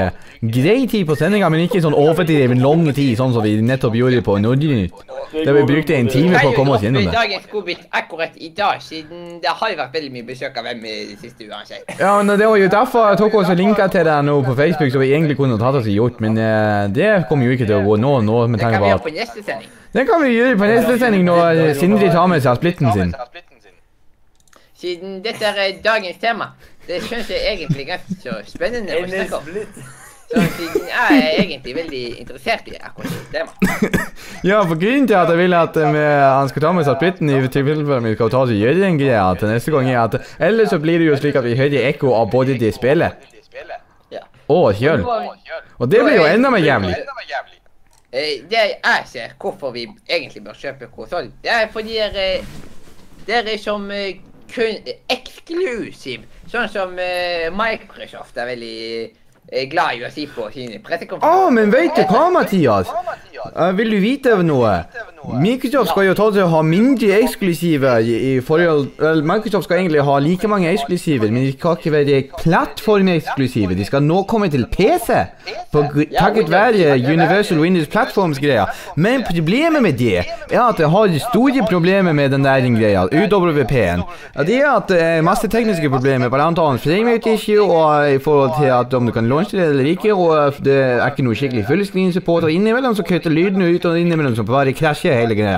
grei tid på sendinga, men ikke sånn overdreven lang tid, sånn som vi nettopp gjorde på Nordnytt. Det vi brukte en time
Jeg
på å komme oss
gjorde
gjennom det.
Dagens godbit akkurat i dag, siden det har jo vært veldig mye besøk av hvem i det siste uansett.
Ja, men Det var jo derfor jeg tok også linka til deg nå på Facebook, som vi egentlig kunne tatt oss og gjort, men eh, det kommer jo ikke til å gå nå, nå med
Det
tanke
kan vi
på
gjøre
at
på neste sending.
Det kan vi gjøre på neste sending når Sindre Eh, tar med seg splitten sin.
Siden dette er dagens tema. Det syns jeg egentlig er ganske så spennende å
En eh,
snakke om.
splitt.
Så siden jeg er egentlig veldig interessert i akkurat det temaet.
Ja, for grunnen til at jeg vil at eh, vi- han skal ta med seg splitten i tilfelle vi skal ta oss og gjøre en greie til neste gang, er at ellers så blir det jo slik at vi hører ekko av både det spillet og kjøl. Og det blir jo enda mer jævlig.
Eh, Det jeg ser hvorfor vi egentlig bør kjøpe konsoll, det er fordi dere, eh, dere som eh, kun eksklusiv, sånn som eh, Microsoft er veldig eh, glad i å si på sine
Å,
pressekonferanser.
Ah, men vet du hva, Mathias? Eh, vil du vite noe? Microsoft skal jo ta til å ha mindre eksklusive i, i forhold vel, Microsoft skal egentlig ha like mange eksklusiver, men de skal ikke være plattformeksklusive. De skal nå komme til PC, på, gr- takket være Universal Windows Platforms-greia. Men problemet med det er at det har store problemer med den der greia, UWP-en. Ja, Det er at det er masse tekniske problemer, blant annet framerate issue, og eh, i forhold til at om du kan launche det eller ikke, og eh, det er ikke noe skikkelig fullscreen-support, og innimellom så kutter lyden ut, og innimellom så bare krasjer hele greia.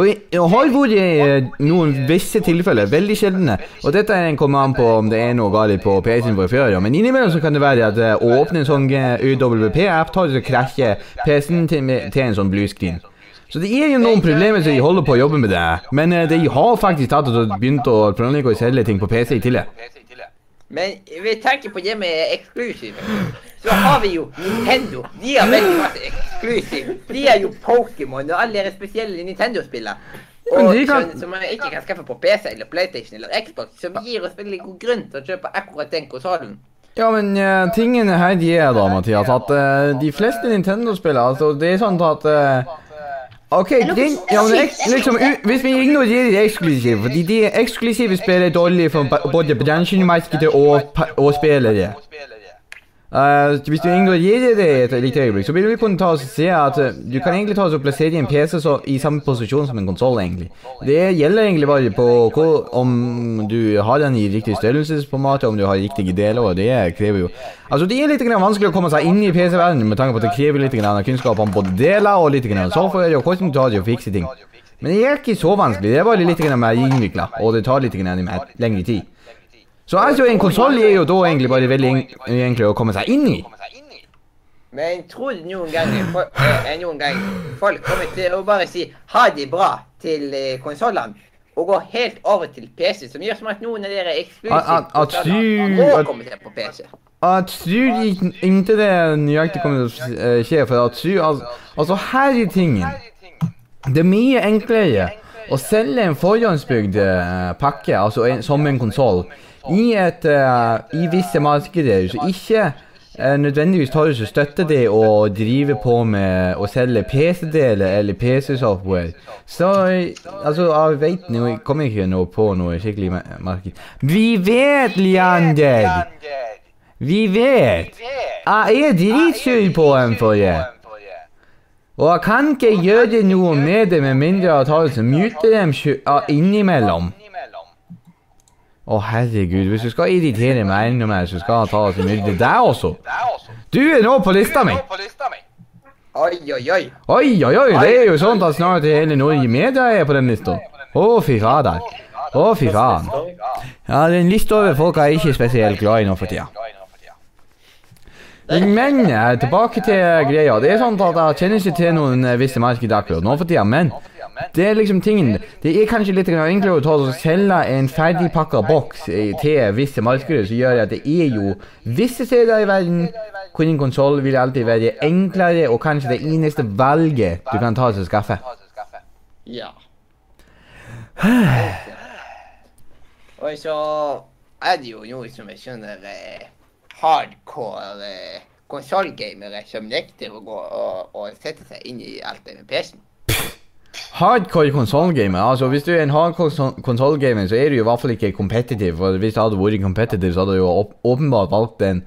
Og i- det har vært eh, noen visse tilfeller, veldig sjeldne, og dette er en kommer an på om det er noe galt på PC-en vår før, ja. men innimellom så kan det være at eh, å åpne en sånn eh, UWP-app tar og krasjer PC-en til, med- til en sånn bluescreen. Så det er jo noen problemer som de holder på å jobbe med det, men eh, de har faktisk tatt og begynt å planlegge å selge ting på PC i tillegg.
Men vi tenker på det med eksklusive. Så har vi jo Nintendo. De har veldig masse eksklusiv. De er jo Pokémon og alle de spesielle Nintendo-spillene.
Men
Og
de kan-
sånn som man ikke kan skaffe på PC eller PlayStation eller Xbox, som gir oss veldig god grunn til å kjøpe akkurat den konsollen.
Ja, men eh, tingen her de er da, Mathias, at eh, de fleste Nintendo-spillere, altså, det er sånn at eh, Ok, den, ja, men eks- liksom, u- hvis vi ignorerer det eksklusive, fordi de eksklusive spiller dårlig for ba- både bransjemarkedet og, pa- og spillere. Eh, hvis du ignorerer det et lite øyeblikk, så vil vi kunne ta oss og se at eh, du kan egentlig ta oss og plassere en PC så, i samme posisjon som en konsoll, egentlig. Det gjelder egentlig bare på hvor, om du har den i riktig størrelsesformat, om du har riktige deler, og det krever jo Altså, det er litt grann vanskelig å komme seg inn i PC-verdenen med tanke på at det krever litt grann av kunnskap om både deler og litt grann software og hvordan du tar det og fikser ting. Men det er ikke så vanskelig, det er bare litt grann mer innvikla, og det tar litt grann mer lengre tid. Så altså, en konsoll er jo da egentlig bare veldig en- egentlig å komme seg inn i.
Men tror du noen gang, fo- eh, noen gang folk kommer til å bare si ha det bra til eh, konsollene, og gå helt over til PC, som gjør som at noen av dere
At-
eksklusive
at- at du-
konsoller må
at-
komme seg på PC.
Jeg tror ik- ikke det nøyaktig kommer til å eh, skje, for jeg tror altså, altså her er tingen. Det er mye enklere å selge en forhåndsbygd eh, pakke, altså en, som en konsoll, i, et, eh, i visse markeder som ikke eh, nødvendigvis tar det ikke støtte det å drive på med å selge PC-deler eller PC-software. Så eh, altså, jeg vet nå Jeg kommer ikke nå på noe skikkelig mer- merke... Vi vet, Leander! Vi vet! Jeg er dritsur på dem for det. Og jeg kan ikke gjøre noe med det med mindre jeg tar og muter dem sjø- ah, innimellom. Å, herregud, hvis du skal irritere meg enda mer, så skal jeg ta og myrde deg også. Du er nå på lista mi!
Oi, oi, oi.
Oi, oi, oi, det er jo sånn at snart hele Norge Media er på den lista. Å, fy fader. Å, fy faen. Ja, det er en liste over folk jeg er ikke spesielt glad i nå for tida. Men eh, tilbake til greia. Det er sånn at jeg kjenner ikke til noen eh, visse markeder akkurat nå for tida, men det er liksom tingen. Det er kanskje litt grann enklere å ta og selge en ferdigpakka boks eh, til visse markeder, som gjør at det er jo visse steder i verden hvor en konsoll vil alltid være enklere og kanskje det eneste valget du kan ta til å skaffe.
Ja. Og så er det jo noe som er sånne eh, hardcore eh, konsollgamere som nekter å gå og, og sette seg inn i alt det med PC-en.
Hardcore konsollgamer. Altså, hvis du er en hardcore konsollgamer, så er du jo i hvert fall ikke competitive. For hvis du hadde vært competitive, så hadde du jo åp- åpenbart valgt en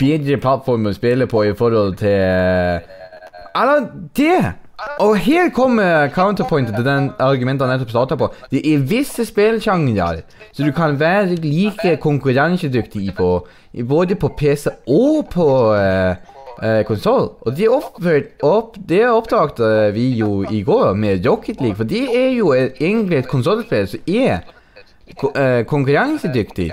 bedre plattform å spille på i forhold til Eller det! Og her kommer counterpointet til den argumentet jeg nettopp starta på. Det er visse spillsjangre så du kan være like konkurransedyktig på, i både på PC og på uh, konsoll. Og det, oppført, opp, det oppdaget eh, vi jo i går med Rocket League, for det er jo et- egentlig et konsollspill som er ko- eh, konkurransedyktig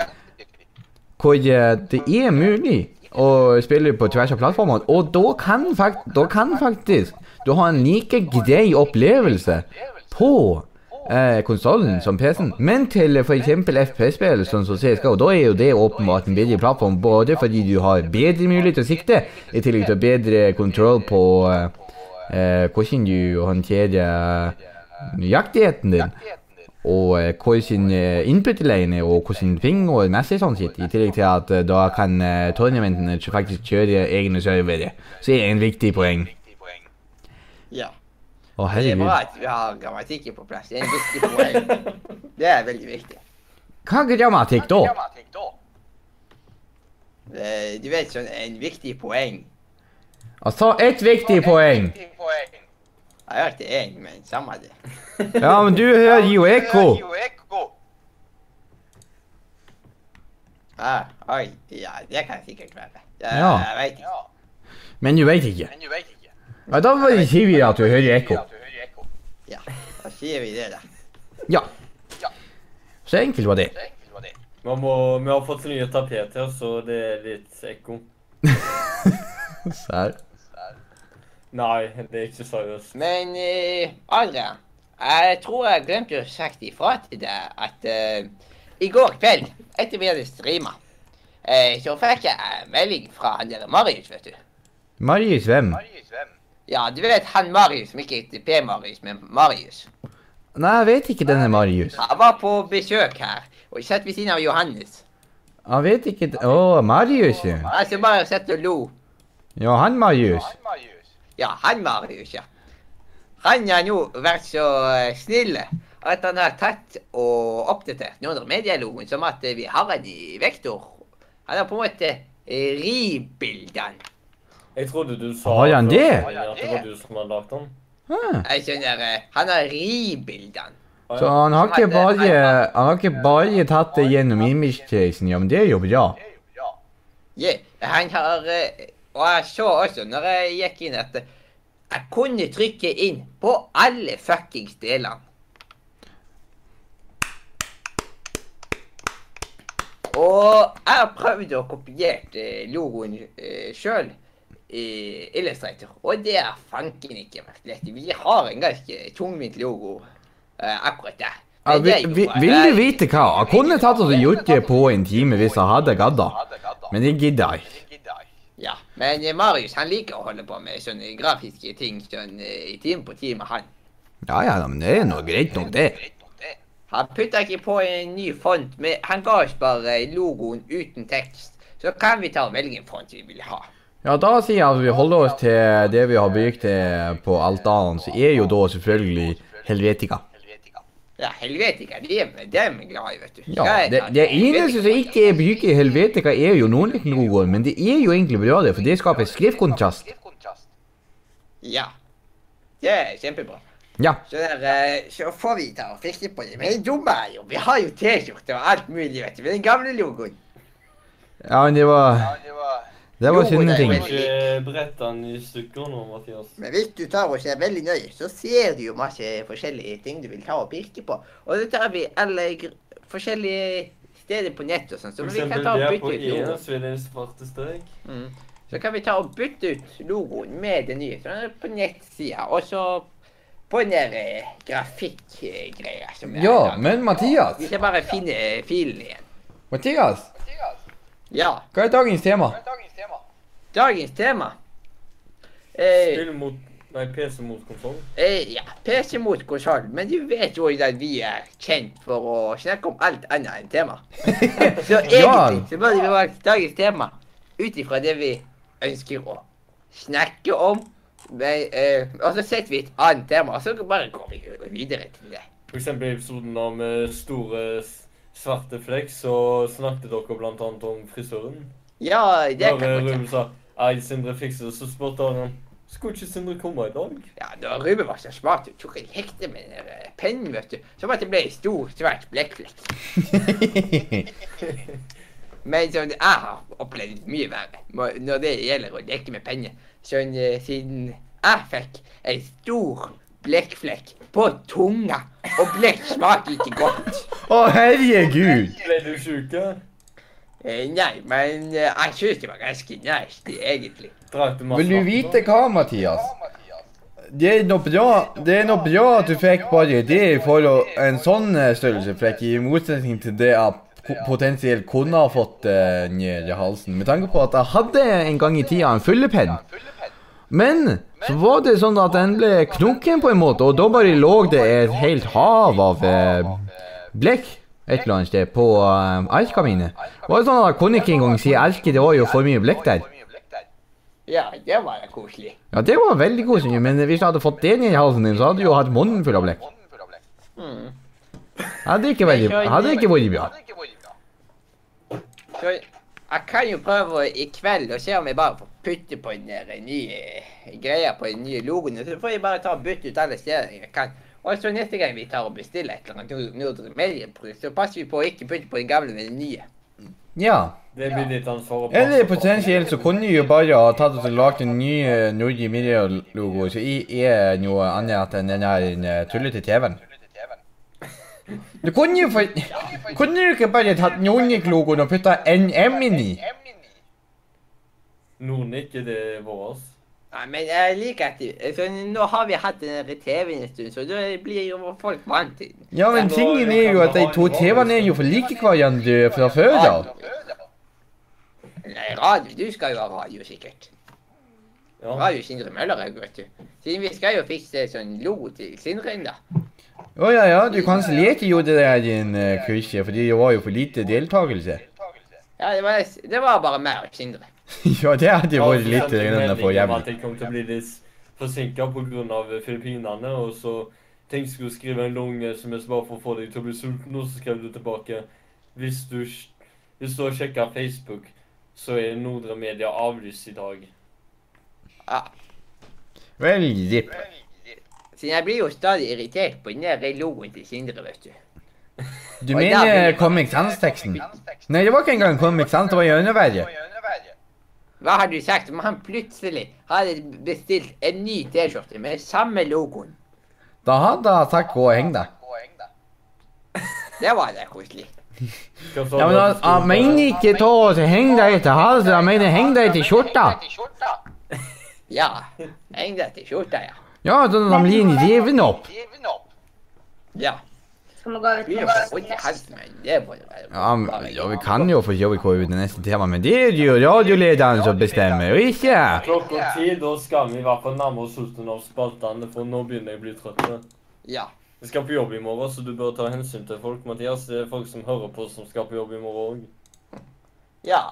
hvor eh, det er mulig å spille på tvers av plattformene. Og da kan, fakt da kan faktisk du ha en like grei opplevelse på eh, konsollen som PC-en. Men til eh, for eksempel FPS-spill, sånn som CSGO, da er jo det åpenbart en bedre plattform. Både fordi du har bedre mulighet til å sikte, i tillegg til bedre kontroll på eh, eh, hvordan du håndterer nøyaktigheten din og eh, hvordan eh, input-line og hvordan ting og messig sånn sitt, i tillegg til at eh, da kan eh, tournamentene kjø- faktisk kjøre egne servere. Så er det en viktig poeng.
Ja.
Å,
Det er bra
herregud.
at vi har grammatikken på plass. Det er en viktig poeng. Det er veldig viktig.
Hva er grammatikk da?
Eh, Du vet sånn en viktig poeng.
Altså, ett viktig poeng.
Jeg har hørt én, men samme det.
Ja, men du hører jo ekko.
Ah, oi. Ja, det kan sikkert være. Jeg,
Ja.
jeg vet ikke.
Men du vet ikke. Ja, da bare sier vi at du hører ekko.
Da sier vi det, da.
Ja. Så enkelt var det.
Man må, vi har fått nye tapet her, så det er litt ekko.
Serr.
Nei, det er ikke seriøst.
Men eh, Adrian, jeg tror jeg glemte å sagt ifra til deg at eh, i går kveld, etter vi hadde streama, eh, så fikk jeg en melding fra han der Marius, vet du.
Marius hvem?
Ja, du vet han Marius, som ikke heter P-Marius, men Marius.
Nei, jeg vet ikke denne Marius.
Han var på besøk her, og satt ved siden av Johannes.
Jeg vet ikke d- Å, Marius, ja.
Han som bare satt og lo.
Ja, han Marius.
Ja, han Marius, ja. Han har nå vært så eh, snill at han har tatt og oppdatert noen medialoen som at eh, vi har han i vektor. Han har på en måte eh, ribildet han.
Jeg trodde du sa
Har han
før
det?
sendingen At det var du som hadde lagt den.
Ah.
Jeg skjønner, eh, han har ribildet han.
Ah,
Så
ja.
han har ikke
Nei, det-
bare,
nei,
han har ikke bare tatt det gjennom image-casen, ja, men det er jo bra.
Ja, han har eh, Og jeg så også når jeg gikk inn at eh, jeg kunne trykke inn på alle fuckings delene. Og jeg har prøvd å kopiere eh, logoen eh, sjøl i Illustrator, og det er fanken ikke vært lett. Vi har en ganske tungvint logo eh, akkurat der.
Ja,
Men
vi,
det er jo
vi,
bare-
vil du vite hva? Jeg kunne tatt og gjort det på en time hvis jeg hadde gadda, men jeg gidder ikke.
Ja, men eh, Marius han liker å holde på med sånne grafiske ting sånn eh, i time på time, han.
Ja, ja, men det er nå greit nok det.
Han putta ikke på en ny font, men han ga oss bare logoen uten tekst. Så kan vi ta og velge en font vi vil ha.
Ja, da sier jeg at vi holder oss til det vi har bygd til på altaren, så er jo da selvfølgelig Helvetica.
Ja, helvetika, de er de er vi glad i, vet du.
Ja,
Skal jeg
det,
ta
det eneste som ikke er bygd i Helvetica, er jo nordlykklogoen, men det er jo egentlig bra, det, for det skaper skriftkontrast.
Ja. Det er kjempebra.
Ja.
Så, der, eh, så får vi ta og fikse på det. Men det dumme er jo, vi har jo T-skjorte og alt mulig, vet du. Med den gamle logoen.
Ja, men det var Det var synd
Du
ting.
må ikke brette eh, den i stykker nå, Mathias.
Men hvis du tar og ser veldig nøye, så ser du jo masse forskjellige ting du vil ta og pirke på. Og det tar vi alle gr forskjellige steder på nett og sånn, så
For
vi kan
eksempel
ta og
der på
bytte ut
E,
logoen. Mm.
så er det en svarte strek.
Så kan vi ta og bytte ut logoen med det nye. Sånn på nettsida, og så på den der eh, grafikkgreia som er
Ja,
laget.
men Mathias,
Vi skal bare finne filen igjen.
Mathias,
Ja.
hva er dagens tema? (laughs)
Dagens tema. Eh,
Spill mot Nei, PC mot konsoll.
eh, ja, PC mot konsoll. Men du vet jo at vi er kjent for å snakke om alt annet enn tema. Så
Ja.
egentlig så burde vi valgt dagens tema ut ifra det vi ønsker å snakke om. Men, eh, og så setter vi et annet tema, og så bare går vi videre til det.
For eksempel i episoden om eh, store s- svarte flekk, så snakket dere blant annet om frisøren.
Ja, det
Da
kan godt
Ruben sa
være.
Ei, Sindre fikser det, så spurte han om Skulle ikke Sindre komme i dag?
Ja, da Ruben var så smart, hun tok en hekte med den der, eh, pennen, vet du. Som at det ble en stor, svart blekkflekk. Men sånn, jeg har opplevd mye verre må- når det gjelder å leke med penger. Sånn eh, siden jeg fikk en stor blekkflekk på tunga, og blekk smaker ikke godt.
Å, herregud!
Ble du sjuk? ja?
Eh, Nei, men eh, jeg syns det var ganske nasty, egentlig.
Drakk du masse
Vil du
vann
vite
da?
hva, Mathias? Det er noe bra, det er noe bra at du fikk bare det for å, en sånn eh, størrelse flekk, i motsetning til det jeg ko- potensielt kunne ha fått eh, ned i halsen, med tanke på at jeg hadde en gang i tida en fyllepenn. Men så var det sånn at den ble knokken på en måte, og da bare lå det et helt hav av eh, blekk et eller annet sted på eh, arka mine. Det var sånn at jeg kunne ikke engang si arket, det var jo for mye blekk der.
Ja, det var da koselig.
Ja, det var veldig koselig, men hvis jeg hadde fått det ned i halsen din, så hadde du jo hatt munnen full av blekk.
Mm.
Hadde ikke vært, hadde ikke vært bra.
Så jeg kan jo prøve i kveld og se om jeg bare får putte på eh, den der nye greia på den nye logoen. og Så får jeg bare ta og bytte ut alle steder jeg kan. Og så neste gang vi tar og bestiller et eller annet nord- Nordre Mediebrus, så passer vi på å ikke putte på den gamle med den nye.
Ja.
Det blir ditt ansvar å
Eller
passe på.
potensielt så kunne du jo bare ha tatt og lagd en ny eh, Nordic Media-logo, så jeg er noe annet enn den her eh, tullete TV-en. Du kunne jo for... Kunne du ikke bare tatt Nordic-logoen og putta NM inn i?
Nornic er det våres.
Nei, men jeg liker at de- så Nå har vi hatt den der TV-en en stund, så da blir jo folk vant til den.
Ja, men tingen er jo at de to TV-ene er jo for like hverandre fra før av.
Nei, radio, du skal jo ha radio, sikkert.
Ja.
Radio Sindre Møller, jeg, vet du. Siden vi skal jo fikse sånn logo til Sindre da.
Å ja, ja, du kansellerte jo det der din eh, kurset, fordi det var jo for lite deltakelse.
Ja, det var, det var bare meg og Sindre.
(laughs) Ja, det hadde
Ja,
vært
så
litt
sendte jeg
grann
melding
for
om
jævlig.
At jeg kom til å bli litt forsinka pga. Filippinene. Og så tenkte jeg skulle skrive en lang SMS bare for å få deg til å bli sulten, og så skrev du tilbake Hvis du, sj- hvis du har sjekka Facebook, så er Nordre Media avlyst i dag.
Vel, jipp.
Så jeg blir jo stadig irritert på den der logoen til Sindre, vet du.
Du
Og
mener
jævlig.
Comic Sans-teksten? Nei, det var ikke engang Comic Sans, det var i verre.
Hva hadde du sagt om han plutselig hadde bestilt en ny T-skjorte med samme logoen?
Da hadde jeg sagt gå og heng deg.
Det var da koselig.
Hva sa
Ja, men
du
han han mener
at du skulle ta?
ikke ta og så heng deg til halsen, han mener heng deg til skjorta.
Ja. Heng deg til skjorta, ja.
Ja, sånn at han blir revet opp.
Ja.
Skal vi gå
Blir jo
over
vondt i halsen, men det må jo være
Ja, men- ja, vi kan jo for så vidt gå ut i E neste tema, men det er jo radiolederen som bestemmer, og ikke jeg.
Klokka ti, da skal vi i hvert fall nærme oss slutten av spaltene, for nå begynner jeg å bli trøtt.
Ja.
Jeg skal på jobb i morgen, så du bør ta hensyn til folk, Mathias. Det er folk som hører på, som skal på jobb i morgen òg.
Ja.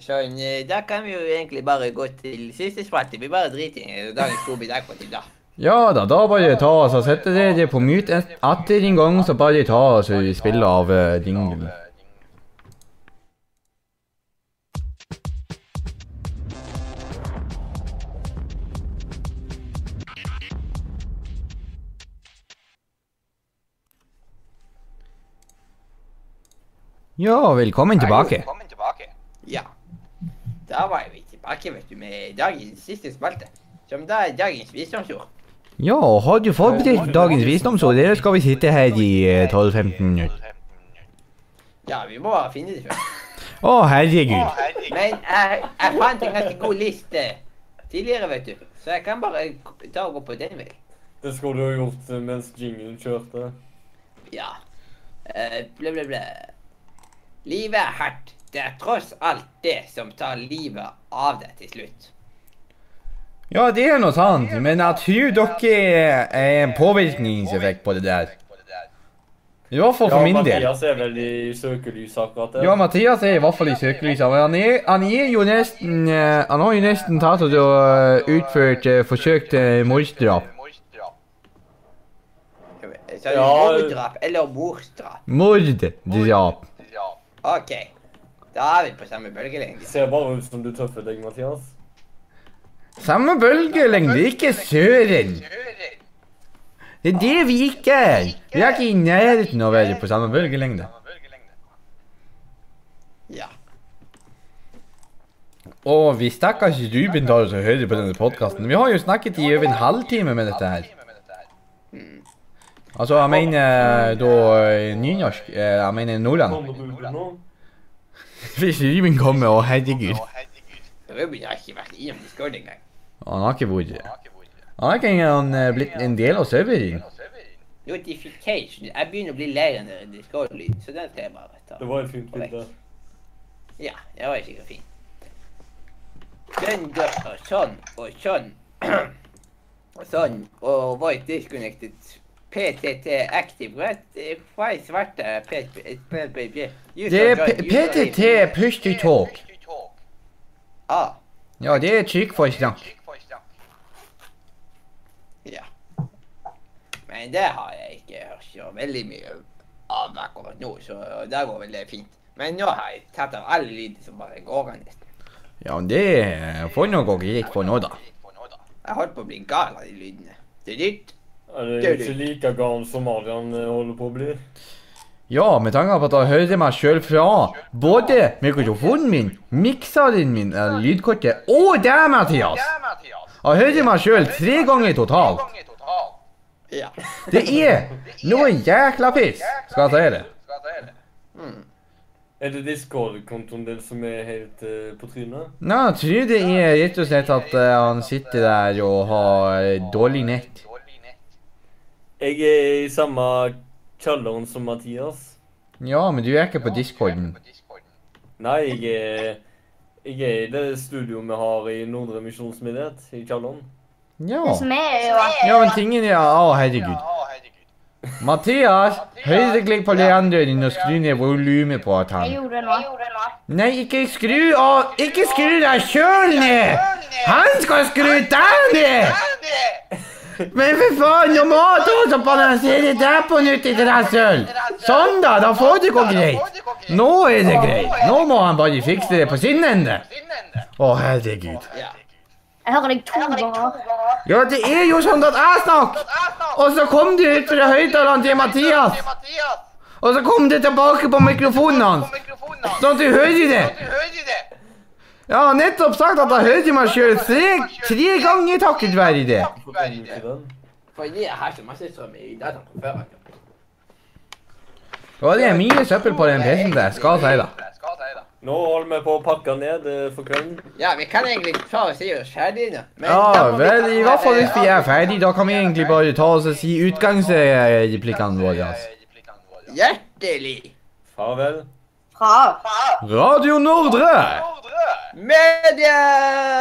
Sånn, eh, da kan vi jo egentlig bare gå til siste spalte. Vi bare driter i dagens Tobi der på til da.
Ja da, da bare ta oss og sette dere på mute et- etter en gang, så bare ta oss og spille av eh, jinglen. Ja, velkommen tilbake.
Velkommen tilbake.
Ja. Da var vi tilbake, vet du, med dagens siste spalte. Som da er dagens visdomsord.
Ja, har du forberedt dagens visdomsord, eller skal vi sitte her i eh, 12-15 minutter?
Ja, vi må finne det først.
Å, herregud.
Men jeg, jeg fant en ganske god liste tidligere, vet du. Så jeg kan bare k- ta og gå på den veien.
Det skulle du ha gjort eh, mens jinglen kjørte.
Ja. Eh, Blæ, blæ, blæ. Livet er hardt. Det er tross alt det som tar livet av deg til slutt.
Ja, det er noe sant, men jeg tror dere er en påvirkningseffekt på det der. I hvert fall for min del.
Mathias er vel i søkelyset akkurat der.
Ja, Mathias er i hvert fall i søkelyset, men han er, han er jo nesten eh, Han har jo nesten tatt og eh, utført eh, forsøkt eh, morddrap.
Så er det
Ja.
morddrap eller morddrap.
Morddrap.
OK. Da er vi på samme bølgelengde.
Ser bare ut som du tøffer deg, Mathias.
Samme bølgelengde, ikke søren. Det er det vi ikke er. Vi er ikke i nærheten av å være på samme bølgelengde.
Ja.
Og vi stakkars Ruben tar oss og hører på denne podkasten. Vi har jo snakket i over en halvtime med dette her. Altså, jeg mener da eh, nynorsk. eh, Jeg mener
Kom
Nordland.
du ut nå?
(laughs) Hvis Ruben kommer, å herregud.
Ruben har ikke vært innom Discord engang.
Han har ikke vært Han har ikke engang eh, blitt en del av serveren.
Notification. Jeg begynner å bli lei av den Discord-lyden, så den skal jeg bare ta.
Det var et fint bilde.
Ja, det var sikkert fint. Den dør, og sånn, og sånn. (clears throat) og sånn, og voice disconnected. PTT active, right? Hva er svarte PTT?
Det er P- PTT, push to talk.
Ah,
Ja, det er trykk for snakk.
ja. Men det har jeg ikke hørt så veldig mye av akkurat nå, så det går vel det fint. Men nå har jeg tatt av alle lyder som bare går an nesten.
Ja, det eh, får nå gå greit for nå, da.
Jeg holdt på å bli gal av de lydene. Det er dyrt.
Er det er ikke like galen som Adrian eh, holder på å bli?
Ja, med tanke på at jeg hører meg sjøl fra både mikrofonen min, mikseren min, eh, lydkortet og deg, Mathias. Jeg hører meg sjøl tre ganger totalt.
Ja.
Det er noe jækla piss, skal jeg si det.
Mm.
Er det Discord-kontoen din som er helt eh, på trynet?
Nei, jeg tror det er rett og slett at eh, han sitter der og har eh, dårlig nett.
Jeg er i samme kjelleren som Mathias.
Ja, men du er ikke på discorden.
Nei, jeg er, jeg er i det studioet vi har i Nordre Misjonsmyndighet, i kjelleren.
Ja.
Det som er, er jo at
ja, men tingen er Å, herregud. Mathias, høyreklikk på Leander din og skru ned volumet på at han
jeg gjorde det nå.
Nei, ikke skru av! Ikke skru deg sjøl ned! Han skal skru deg ned! Men for faen, nå må du også balansere deg på nytt, ditt rasshøl! Sånn, da. Da får det gå greit. Nå er det greit. Nå må han bare fikse det på sin ende. Å, herregud.
Ja.
Jeg hører deg to ganger.
Ja, det er jo sånn at jeg snakker, og så kom du ut fra høyttaleren til Mathias, og så kom du tilbake på mikrofonen hans, sånn at du hører det. Jeg har nettopp sagt at jeg hørte meg sjøl tre, tre ganger takket være det.
Hvorfor kan du ikke den?
Fordi jeg har så masse strøm i dataen fra før. altså. vet du.
Ja, det er mye søppel på den PC-en der, skal jeg si da.
Nå holder vi på å pakke ned eh, for kvelden.
Ja, vi kan egentlig ta oss i oss ferdig nå. men da
Ja,
må vi
vel,
ta-
i hvert fall hvis vi er ferdig, da kan vi egentlig bare ta oss og si utgangsreplikkene våre. altså.
Hjertelig
Farvel.
Fra.
Radio Nordre!
media!